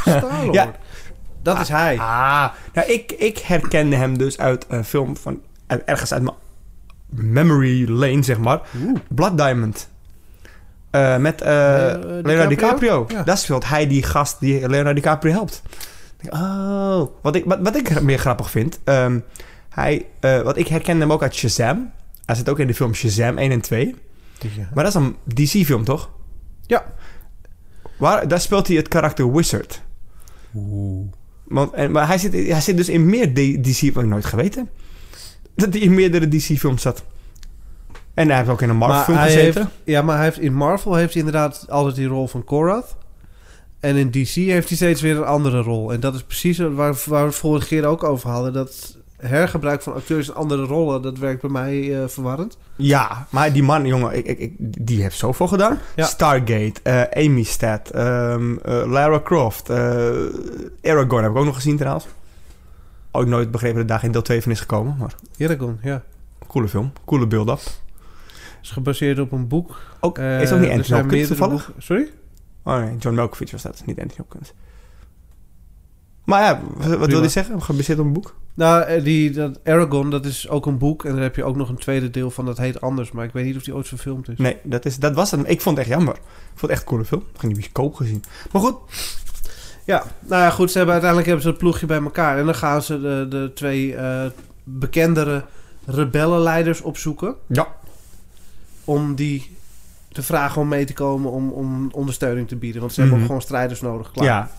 [SPEAKER 1] Starlord.
[SPEAKER 2] Ja.
[SPEAKER 1] Dat is hij.
[SPEAKER 2] Ah, nou, ik, ik herkende hem dus uit een film van... uit- Ergens uit mijn memory lane, zeg maar.
[SPEAKER 1] Oeh.
[SPEAKER 2] Blood Diamond. Eh, met eh,
[SPEAKER 1] Leo-
[SPEAKER 2] Leonardo DiCaprio.
[SPEAKER 1] Ja.
[SPEAKER 2] Dat speelt hij die gast die Leonardo DiCaprio helpt. Ik denk, Oh, wat ik, wat, wat ik meer grappig vind. ehm, hij, eh wat ik herkende hem ook uit Shazam. Hij zit ook in de film Shazam 1 en 2. Maar dat is een DC-film, toch?
[SPEAKER 1] Ja.
[SPEAKER 2] Waar, daar speelt hij het karakter Wizard. Want, en, maar hij zit, hij zit dus in meer D- DC... Wat ik nooit geweten. Dat hij in meerdere DC-films zat. En hij heeft ook in een Marvel-film
[SPEAKER 1] hij
[SPEAKER 2] gezeten.
[SPEAKER 1] heeft, ja, maar hij heeft, in Marvel heeft hij inderdaad altijd die rol van Korath. En in DC heeft hij steeds weer een andere rol. En dat is precies waar, waar we het vorige keer ook over hadden. Dat hergebruik van acteurs in andere rollen, dat werkt bij mij eh, verwarrend.
[SPEAKER 2] Ja, maar die man, jongen, ik, ik, ik- die heeft zoveel gedaan.
[SPEAKER 1] Ja.
[SPEAKER 2] Stargate, eh, Amy Stad, ehm, eh, Lara Croft, eh Aragorn heb ik ook nog gezien trouwens. Ook nooit begrepen dat daar geen deel 2 van is gekomen, maar
[SPEAKER 1] Eragon, ja.
[SPEAKER 2] coole film, coole build-up.
[SPEAKER 1] Is gebaseerd op een boek.
[SPEAKER 2] Ook,
[SPEAKER 1] Eh,
[SPEAKER 2] is ook niet
[SPEAKER 1] er
[SPEAKER 2] Anthony
[SPEAKER 1] zijn
[SPEAKER 2] Hopkins
[SPEAKER 1] meerdere
[SPEAKER 2] toevallig?
[SPEAKER 1] boeken- Sorry?
[SPEAKER 2] Oh nee, John Malkovich was dat, niet Anthony Hopkins. Maar ja, wat, wat wil
[SPEAKER 1] Prima.
[SPEAKER 2] je zeggen? Gebaseerd op een boek?
[SPEAKER 1] Nou, eh, die, dat Aragon, dat is ook een boek. En daar heb je ook nog een tweede deel van, dat heet anders. Maar ik weet niet of die ooit verfilmd is.
[SPEAKER 2] Nee, dat, is, dat was het. Ik vond het echt jammer. Ik vond het echt een coole film. Ik heb die bioscoop gezien. Maar goed,
[SPEAKER 1] Ja, nou ja, goed. Ze hebben, uiteindelijk hebben ze het ploegje bij elkaar. En dan gaan ze de, de twee eh, bekendere rebellenleiders opzoeken.
[SPEAKER 2] Ja.
[SPEAKER 1] Om die te vragen om mee te komen om, om ondersteuning te bieden. Want ze
[SPEAKER 2] Mhm.
[SPEAKER 1] hebben ook gewoon strijders nodig. Klaar.
[SPEAKER 2] ja,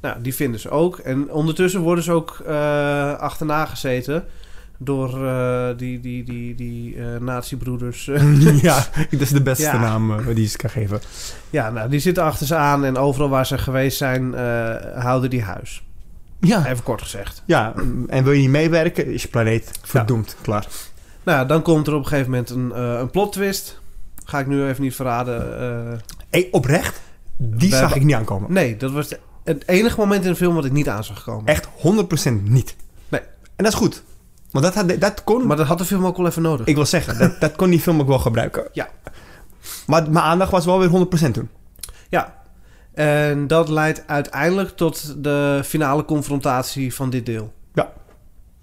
[SPEAKER 1] Nou, die vinden ze ook. En ondertussen worden ze ook eh, achterna gezeten door eh, die, die, die, die eh, nazi-broeders.
[SPEAKER 2] ja, dat is de beste
[SPEAKER 1] Ja.
[SPEAKER 2] naam eh, die ze kan geven.
[SPEAKER 1] ja, nou, die zitten achter ze aan. En overal waar ze geweest zijn, eh, houden die huis.
[SPEAKER 2] Ja,
[SPEAKER 1] Even kort gezegd.
[SPEAKER 2] Ja, en wil je niet meewerken, is je planeet verdoemd. Klaar.
[SPEAKER 1] Nou, dan komt er op een gegeven moment een, eh, een plot twist. Ga ik nu even niet verraden. eh.
[SPEAKER 2] Hey, oprecht, die
[SPEAKER 1] We
[SPEAKER 2] zag
[SPEAKER 1] hebben-
[SPEAKER 2] ik niet aankomen.
[SPEAKER 1] nee, dat was het enige moment in de film wat ik niet aan zag komen.
[SPEAKER 2] Echt 100% niet.
[SPEAKER 1] Nee.
[SPEAKER 2] En dat is goed. Want dat, had, dat kon,
[SPEAKER 1] Maar dat had de film ook wel even nodig.
[SPEAKER 2] ik wil zeggen, dat, dat kon die film ook wel gebruiken.
[SPEAKER 1] Ja.
[SPEAKER 2] Maar mijn aandacht was wel weer 100% toen.
[SPEAKER 1] Ja. En dat leidt uiteindelijk tot de finale confrontatie van dit deel.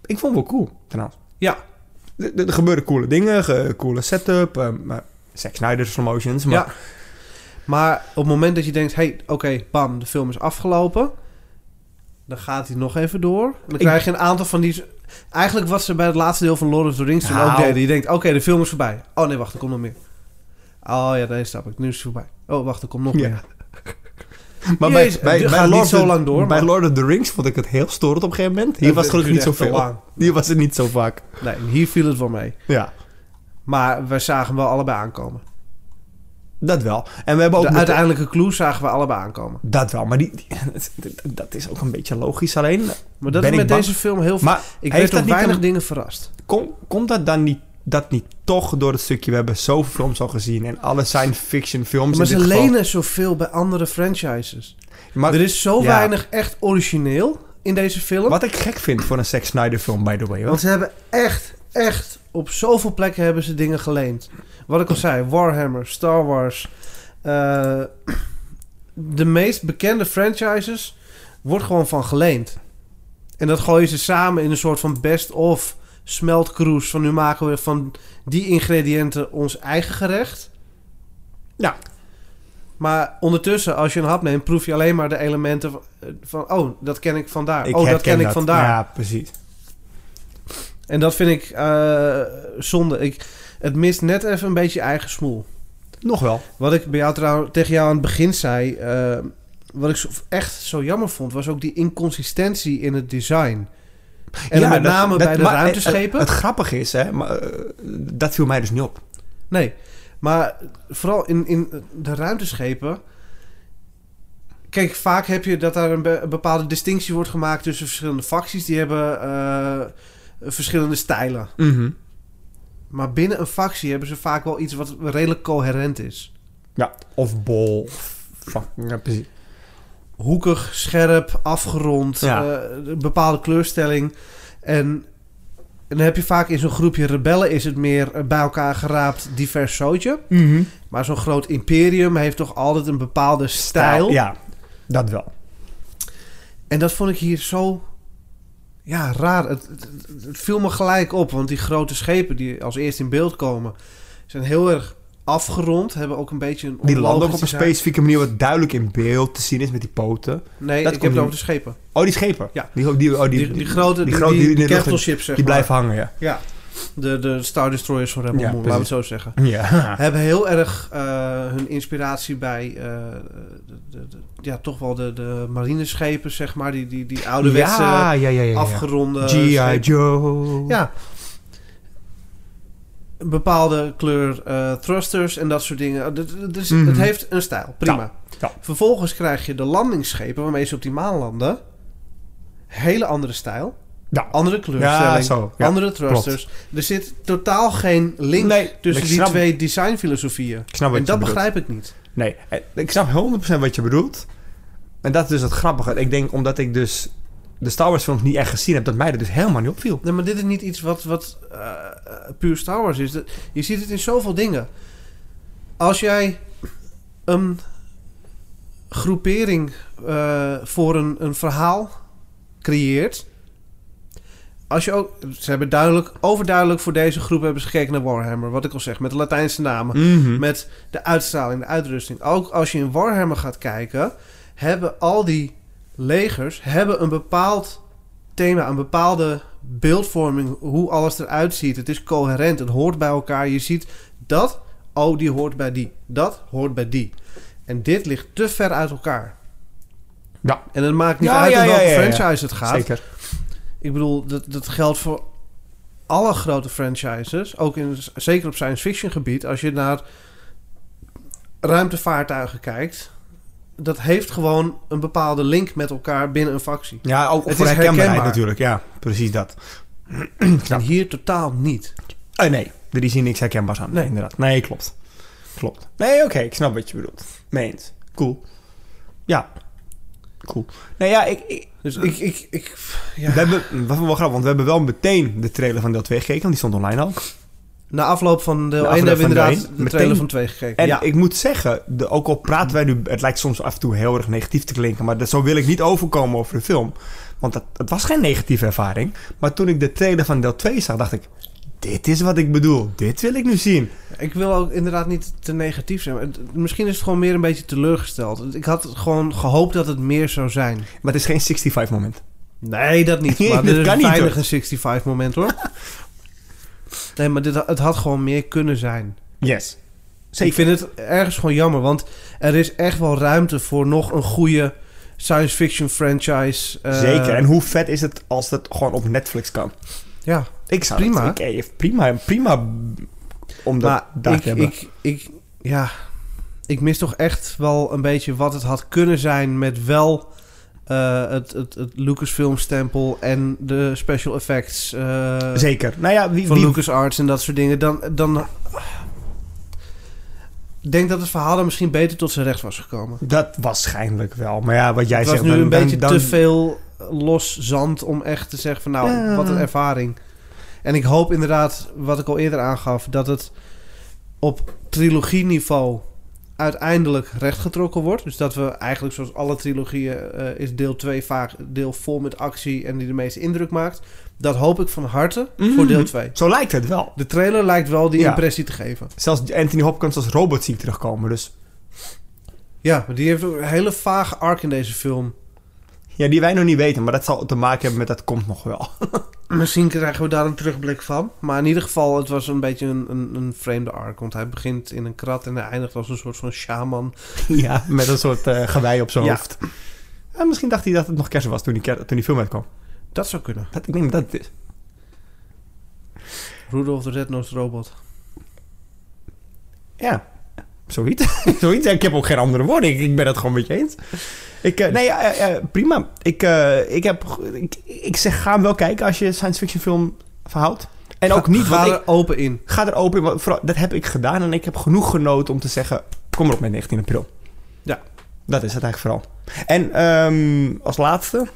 [SPEAKER 2] Ik vond het wel cool, trouwens.
[SPEAKER 1] Ja.
[SPEAKER 2] Er- Er er gebeuren coole dingen, ge- coole setup. eh, maar Zack Snyder's promotions. Maar
[SPEAKER 1] Ja. Maar op het moment dat je denkt, hey, oké, bam, de film is afgelopen. Dan gaat hij nog even door. En dan
[SPEAKER 2] Ik-
[SPEAKER 1] krijg je een aantal van die... Eigenlijk wat ze bij het laatste deel van Lord of the Rings toen ook
[SPEAKER 2] Nou.
[SPEAKER 1] deden. Je denkt, oké, de film is voorbij. Oh nee, wacht, er komt nog meer. Oh ja, nee, snap ik. Nu is het voorbij. Oh, wacht, er komt nog
[SPEAKER 2] Ja.
[SPEAKER 1] meer.
[SPEAKER 2] Maar
[SPEAKER 1] Jezus, dit gaat niet
[SPEAKER 2] of the-
[SPEAKER 1] zo lang door,
[SPEAKER 2] Bij
[SPEAKER 1] maar-
[SPEAKER 2] Lord of the Rings vond ik het heel storend op een gegeven moment. Hier
[SPEAKER 1] Het
[SPEAKER 2] was het gelukkig niet
[SPEAKER 1] duurde echt te
[SPEAKER 2] zoveel.
[SPEAKER 1] lang.
[SPEAKER 2] Hier was het niet zo vaak.
[SPEAKER 1] Nee, hier viel het wel mee.
[SPEAKER 2] Ja.
[SPEAKER 1] Maar we zagen hem wel allebei aankomen.
[SPEAKER 2] Dat wel. En we hebben ook...
[SPEAKER 1] De
[SPEAKER 2] met-
[SPEAKER 1] uiteindelijke clue zagen we allebei aankomen.
[SPEAKER 2] Dat wel, maar die, die- dat, dat- dat is ook een beetje logisch alleen.
[SPEAKER 1] Maar dat
[SPEAKER 2] Ben
[SPEAKER 1] is
[SPEAKER 2] ik
[SPEAKER 1] met
[SPEAKER 2] bang?
[SPEAKER 1] deze film heel veel...
[SPEAKER 2] Maar
[SPEAKER 1] Ik werd
[SPEAKER 2] heeft dat
[SPEAKER 1] door
[SPEAKER 2] niet
[SPEAKER 1] weinig
[SPEAKER 2] een-
[SPEAKER 1] dingen verrast.
[SPEAKER 2] kom, komt dat dan niet, dat niet toch door het stukje... We hebben zoveel films al gezien en alle science fiction films
[SPEAKER 1] Maar
[SPEAKER 2] in
[SPEAKER 1] ze
[SPEAKER 2] dit geval.
[SPEAKER 1] lenen zoveel bij andere franchises.
[SPEAKER 2] Maar
[SPEAKER 1] er is zo
[SPEAKER 2] ja.
[SPEAKER 1] weinig echt origineel in deze film.
[SPEAKER 2] wat ik gek vind voor een Zack Snyder film, by the way.
[SPEAKER 1] Want
[SPEAKER 2] Want
[SPEAKER 1] ze hebben echt, echt... Op zoveel plekken hebben ze dingen geleend. Wat ik al zei, Warhammer, Star Wars... eh, de meest bekende franchises wordt gewoon van geleend. En dat gooien ze samen in een soort van best-of smeltkroes. Van nu maken we van die ingrediënten ons eigen gerecht.
[SPEAKER 2] Ja.
[SPEAKER 1] Maar ondertussen, als je een hap neemt, proef je alleen maar de elementen van... van, oh, dat ken ik vandaar. oh, dat
[SPEAKER 2] herken
[SPEAKER 1] ken ik vandaar.
[SPEAKER 2] Ja, precies.
[SPEAKER 1] En dat vind ik eh, zonde. Ik, het mist net even een beetje eigen smoel.
[SPEAKER 2] Nog wel.
[SPEAKER 1] Wat ik bij jou trouw, tegen jou aan het begin zei, eh, wat ik zo- echt zo jammer vond, was ook die inconsistentie in het design. En
[SPEAKER 2] Ja,
[SPEAKER 1] dan met
[SPEAKER 2] dat-
[SPEAKER 1] name
[SPEAKER 2] dat-
[SPEAKER 1] bij de
[SPEAKER 2] maar, eh,
[SPEAKER 1] ruimteschepen.
[SPEAKER 2] Het, het grappige is, hè, maar, eh, dat viel mij dus niet op.
[SPEAKER 1] nee, maar vooral in, in de ruimteschepen. Kijk, vaak heb je dat daar een, be- een bepaalde distinctie wordt gemaakt tussen verschillende facties. Die hebben eh, verschillende stijlen. Maar binnen een factie hebben ze vaak wel iets wat redelijk coherent is.
[SPEAKER 2] Ja, of bol. of fuck, ja, precies.
[SPEAKER 1] hoekig, scherp, afgerond,
[SPEAKER 2] Ja.
[SPEAKER 1] eh, een bepaalde kleurstelling. En, en dan heb je vaak in zo'n groepje rebellen is het meer eh, bij elkaar geraapt divers zootje. Maar zo'n groot imperium heeft toch altijd een bepaalde stijl.
[SPEAKER 2] Ja, dat wel.
[SPEAKER 1] En dat vond ik hier zo ja, raar. Het, het, het- het viel me gelijk op, want die grote schepen die als eerst in beeld komen, zijn heel erg afgerond, hebben ook een beetje een
[SPEAKER 2] Die landen ook op
[SPEAKER 1] onlogische
[SPEAKER 2] een
[SPEAKER 1] zaak.
[SPEAKER 2] specifieke manier wat duidelijk in beeld te zien is met die poten.
[SPEAKER 1] Nee,
[SPEAKER 2] Dat
[SPEAKER 1] ik heb
[SPEAKER 2] kon
[SPEAKER 1] het
[SPEAKER 2] niet.
[SPEAKER 1] over de schepen.
[SPEAKER 2] Oh, die schepen.
[SPEAKER 1] Ja.
[SPEAKER 2] Die, die, oh, die,
[SPEAKER 1] Die, die, grote, die,
[SPEAKER 2] grote
[SPEAKER 1] die,
[SPEAKER 2] in de lucht-
[SPEAKER 1] capital ships, zeg
[SPEAKER 2] die
[SPEAKER 1] maar.
[SPEAKER 2] blijven hangen, ja.
[SPEAKER 1] Ja, de, de Star Destroyers van Rebel
[SPEAKER 2] Ja,
[SPEAKER 1] Moon, laten we het zo zeggen.
[SPEAKER 2] Ja.
[SPEAKER 1] Hebben heel erg eh, hun inspiratie bij eh, de, de- de- ja, toch wel de, de marineschepen, zeg maar. Die, die, die ouderwetse,
[SPEAKER 2] ja, ja, ja, ja. ja.
[SPEAKER 1] afgeronde...
[SPEAKER 2] G.I.
[SPEAKER 1] schepen.
[SPEAKER 2] Joe.
[SPEAKER 1] Ja. Een bepaalde kleur eh, thrusters en dat soort dingen. Eh, dit- dit is-
[SPEAKER 2] Mhm.
[SPEAKER 1] Het heeft een stijl, prima.
[SPEAKER 2] ja.
[SPEAKER 1] Vervolgens krijg je de landingsschepen waarmee ze op die maan landen. Hele andere stijl,
[SPEAKER 2] Ja,
[SPEAKER 1] andere kleurstelling.
[SPEAKER 2] ja zo. Ja.
[SPEAKER 1] andere thrusters. Er zit totaal geen link
[SPEAKER 2] Nee,
[SPEAKER 1] tussen
[SPEAKER 2] ik
[SPEAKER 1] die
[SPEAKER 2] snap-
[SPEAKER 1] twee designfilosofieën.
[SPEAKER 2] Ik snap wat
[SPEAKER 1] En
[SPEAKER 2] je
[SPEAKER 1] dat
[SPEAKER 2] bedoelt.
[SPEAKER 1] begrijp ik niet.
[SPEAKER 2] Nee, eh, ik snap 100% wat je bedoelt. En dat is dus het grappige. Ik denk omdat ik dus de Star Wars films niet echt gezien heb, dat mij dat dus helemaal niet opviel.
[SPEAKER 1] Nee, maar dit is niet iets wat, wat eh, puur Star Wars is. Dat- Je ziet het in zoveel dingen. Als jij een groepering eh, voor een, een verhaal creëert. Als je ook, ze hebben duidelijk, overduidelijk voor deze groep hebben ze gekeken naar Warhammer. Wat ik al zeg, met de Latijnse namen.
[SPEAKER 2] Met-
[SPEAKER 1] Met de uitstraling, de uitrusting. Ook als je in Warhammer gaat kijken, hebben al die legers hebben een bepaald thema, een bepaalde beeldvorming, hoe alles eruit ziet. Het is coherent, het hoort bij elkaar. Je ziet dat, oh, die hoort bij die. Dat hoort bij die. En dit ligt te ver uit elkaar.
[SPEAKER 2] Ja.
[SPEAKER 1] En het maakt niet
[SPEAKER 2] Ja,
[SPEAKER 1] uit
[SPEAKER 2] ja,
[SPEAKER 1] om
[SPEAKER 2] ja,
[SPEAKER 1] welke
[SPEAKER 2] ja, ja.
[SPEAKER 1] franchise het gaat.
[SPEAKER 2] Zeker.
[SPEAKER 1] Ik bedoel, dat, dat geldt voor alle grote franchises. Ook in, zeker op science fiction gebied. Als je naar ruimtevaartuigen kijkt. Dat heeft gewoon een bepaalde link met elkaar binnen een factie.
[SPEAKER 2] Ja, ook
[SPEAKER 1] Het
[SPEAKER 2] voor
[SPEAKER 1] is
[SPEAKER 2] herkenbaarheid
[SPEAKER 1] herkenbaar.
[SPEAKER 2] natuurlijk. Ja, precies dat.
[SPEAKER 1] En hier totaal niet.
[SPEAKER 2] Eh, nee, er is hier niks herkenbaars aan.
[SPEAKER 1] Nee.
[SPEAKER 2] Nee, inderdaad. Nee, klopt. Klopt. Nee, oké, ik snap wat je bedoelt. Meent. Cool. Ja. Cool. Nou ja, ik, ik,
[SPEAKER 1] Dus ik, ik, ik ja.
[SPEAKER 2] we hebben, wat vond ik wel grappig, want we hebben wel meteen de trailer van deel 2 gekeken, want die stond online al.
[SPEAKER 1] na afloop van deel
[SPEAKER 2] Na
[SPEAKER 1] 1
[SPEAKER 2] afloop
[SPEAKER 1] hebben we
[SPEAKER 2] van deel
[SPEAKER 1] inderdaad
[SPEAKER 2] één,
[SPEAKER 1] de
[SPEAKER 2] meteen-
[SPEAKER 1] trailer van 2 gekeken.
[SPEAKER 2] En
[SPEAKER 1] ja.
[SPEAKER 2] ik moet zeggen, de, ook al praten wij nu, het lijkt soms af en toe heel erg negatief te klinken, maar dat, zo wil ik niet overkomen over de film. Want dat, het was geen negatieve ervaring. Maar toen ik de trailer van deel 2 zag, dacht ik, dit is wat ik bedoel. Dit wil ik nu zien.
[SPEAKER 1] Ik wil ook inderdaad niet te negatief zijn. maar het- Misschien is het gewoon meer een beetje teleurgesteld. Ik had gewoon gehoopt dat het meer zou zijn.
[SPEAKER 2] Maar het is geen 65 moment.
[SPEAKER 1] Nee, dat niet.
[SPEAKER 2] Nee,
[SPEAKER 1] Maar
[SPEAKER 2] dat
[SPEAKER 1] dit
[SPEAKER 2] kan
[SPEAKER 1] is
[SPEAKER 2] niet,
[SPEAKER 1] veilig
[SPEAKER 2] hoor.
[SPEAKER 1] een 65 moment hoor. nee, maar dit, het had gewoon meer kunnen zijn.
[SPEAKER 2] Yes.
[SPEAKER 1] Ik
[SPEAKER 2] Zeker.
[SPEAKER 1] vind het ergens gewoon jammer, want er is echt wel ruimte voor nog een goede science fiction franchise. eh,
[SPEAKER 2] Zeker. En hoe vet is het als dat gewoon op Netflix kan?
[SPEAKER 1] Ja,
[SPEAKER 2] Ik zou dat-
[SPEAKER 1] Prima.
[SPEAKER 2] ik- eh, prima, prima om dat
[SPEAKER 1] maar
[SPEAKER 2] daar
[SPEAKER 1] ik,
[SPEAKER 2] te hebben.
[SPEAKER 1] ik, ik, ja, ik mis toch echt wel een beetje wat het had kunnen zijn met wel eh, het, het, het Lucasfilm stempel en de special effects. eh,
[SPEAKER 2] Zeker. Nou ja, wie,
[SPEAKER 1] van
[SPEAKER 2] wie-
[SPEAKER 1] LucasArts en dat soort dingen, dan, dan Ik denk dat het verhaal dan misschien beter tot zijn recht was gekomen.
[SPEAKER 2] dat waarschijnlijk wel. Maar ja, wat jij
[SPEAKER 1] het was
[SPEAKER 2] zegt...
[SPEAKER 1] nu
[SPEAKER 2] dan-
[SPEAKER 1] een
[SPEAKER 2] dan-
[SPEAKER 1] beetje
[SPEAKER 2] dan-
[SPEAKER 1] te veel los zand om echt te zeggen van nou,
[SPEAKER 2] Ja.
[SPEAKER 1] wat een ervaring. En ik hoop inderdaad, wat ik al eerder aangaf, dat het op trilogieniveau uiteindelijk rechtgetrokken wordt. Dus dat we eigenlijk zoals alle trilogieën eh, is deel 2 vaak deel vol met actie en die de meeste indruk maakt. Dat hoop ik van harte voor
[SPEAKER 2] Mhm.
[SPEAKER 1] deel 2.
[SPEAKER 2] Zo lijkt het wel.
[SPEAKER 1] De trailer lijkt wel die
[SPEAKER 2] Ja.
[SPEAKER 1] impressie te geven.
[SPEAKER 2] Zelfs Anthony Hopkins als robot zie ik terugkomen. Dus
[SPEAKER 1] Ja, maar die heeft ook een hele vage arc in deze film.
[SPEAKER 2] ja, die wij nog niet weten. Maar dat zal te maken hebben met dat komt nog wel.
[SPEAKER 1] Misschien krijgen we daar een terugblik van. Maar in ieder geval, het was een beetje een, een, een vreemde arc. Want hij begint in een krat en hij eindigt als een soort van shaman.
[SPEAKER 2] ja, met een soort eh gewei op zijn
[SPEAKER 1] Ja.
[SPEAKER 2] hoofd. En misschien dacht hij dat het nog kerst was toen die, ker- toen die film uitkwam.
[SPEAKER 1] Dat zou kunnen.
[SPEAKER 2] Dat, ik denk dat het is.
[SPEAKER 1] Rudolf de Red-Nosed Robot.
[SPEAKER 2] Ja, zoiets. zoiets. Ik heb ook geen andere woorden. Ik, ik ben het gewoon met je eens. Ik, eh, nee, ja, eh, eh, prima. Ik, eh, ik, heb, go- ik, ik zeg, ga hem wel kijken als je science fiction film verhoudt. En ook niet,
[SPEAKER 1] Ga
[SPEAKER 2] want ik
[SPEAKER 1] er open in.
[SPEAKER 2] ga er open in. want vooral- dat heb ik gedaan en ik heb genoeg genoten om te zeggen... kom erop met 19 april.
[SPEAKER 1] Ja.
[SPEAKER 2] Dat is het eigenlijk vooral. En ehm, als laatste...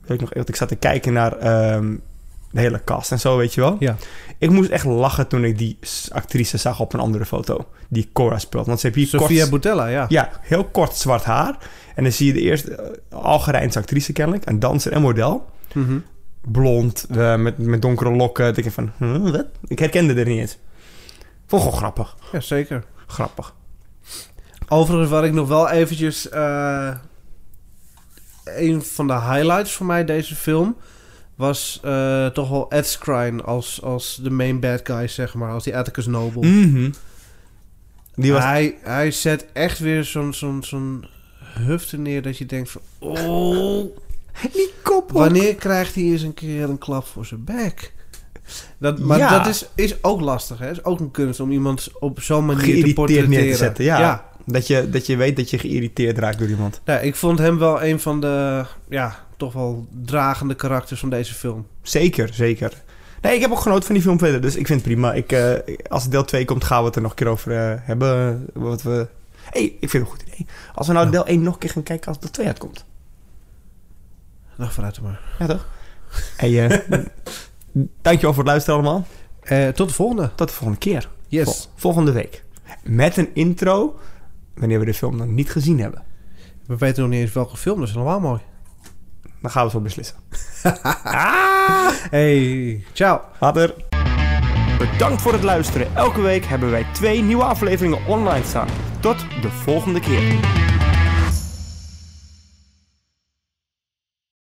[SPEAKER 2] Weet ik nog, want ik zat te kijken naar ehm, de hele cast en zo, weet je wel.
[SPEAKER 1] Ja.
[SPEAKER 2] Ik moest echt lachen toen ik die s- actrice zag op een andere foto. Die Cora speelt. Want ze heeft hier
[SPEAKER 1] Sophia
[SPEAKER 2] kort,
[SPEAKER 1] Boutella, ja.
[SPEAKER 2] ja, heel kort zwart haar. En dan zie je de eerste eh, Algerijnse actrice kennelijk. Een danser en model.
[SPEAKER 1] Mhm.
[SPEAKER 2] Blond, eh, met, met donkere lokken. Ik denk van, hm, wat? Ik herkende er niet eens. Vond ik gewoon grappig.
[SPEAKER 1] ja zeker.
[SPEAKER 2] Grappig.
[SPEAKER 1] Overigens, waar ik nog wel eventjes... eh, een van de highlights voor mij deze film... was eh, toch wel Ed Skrein als, als de main bad guy, zeg maar. Als die Atticus Noble.
[SPEAKER 2] Mhm. Die was...
[SPEAKER 1] hij, hij zet echt weer zo'n zo'n zo'n hufte neer dat je denkt van... Oh,
[SPEAKER 2] Die koppel.
[SPEAKER 1] wanneer krijgt hij eens een keer een klap voor zijn bek? Dat, maar
[SPEAKER 2] Ja.
[SPEAKER 1] dat is, is ook lastig, hè? is ook een kunst om iemand op zo'n manier te
[SPEAKER 2] Geïrriteerd
[SPEAKER 1] portretteren.
[SPEAKER 2] neer te zetten, ja.
[SPEAKER 1] ja.
[SPEAKER 2] Dat, je, dat je weet dat je geïrriteerd raakt door iemand.
[SPEAKER 1] Nou, ik vond hem wel een van de, ja, toch wel dragende karakters van deze film.
[SPEAKER 2] Zeker, zeker. Nee, ik heb ook genoten van die film verder, dus ik vind het prima. Ik, eh, als deel 2 komt, gaan we het er nog een keer over eh, hebben. Wat we... hey, ik vind het een goed idee. Als we nou
[SPEAKER 1] Ja.
[SPEAKER 2] deel 1 nog een keer gaan kijken als deel 2 uitkomt.
[SPEAKER 1] Nou, vooruit dan maar.
[SPEAKER 2] Ja, toch? Hey, eh dankjewel voor het luisteren allemaal.
[SPEAKER 1] Eh, tot de volgende.
[SPEAKER 2] Tot de volgende keer.
[SPEAKER 1] Yes.
[SPEAKER 2] Vol- volgende week. Met een intro, wanneer we de film nog niet gezien hebben.
[SPEAKER 1] We weten nog niet eens welke film, dat is helemaal mooi.
[SPEAKER 2] Dan gaan we zo beslissen.
[SPEAKER 1] Hey, ciao.
[SPEAKER 2] Later. Bedankt voor het luisteren. Elke week hebben wij twee nieuwe afleveringen online staan. Tot de volgende keer.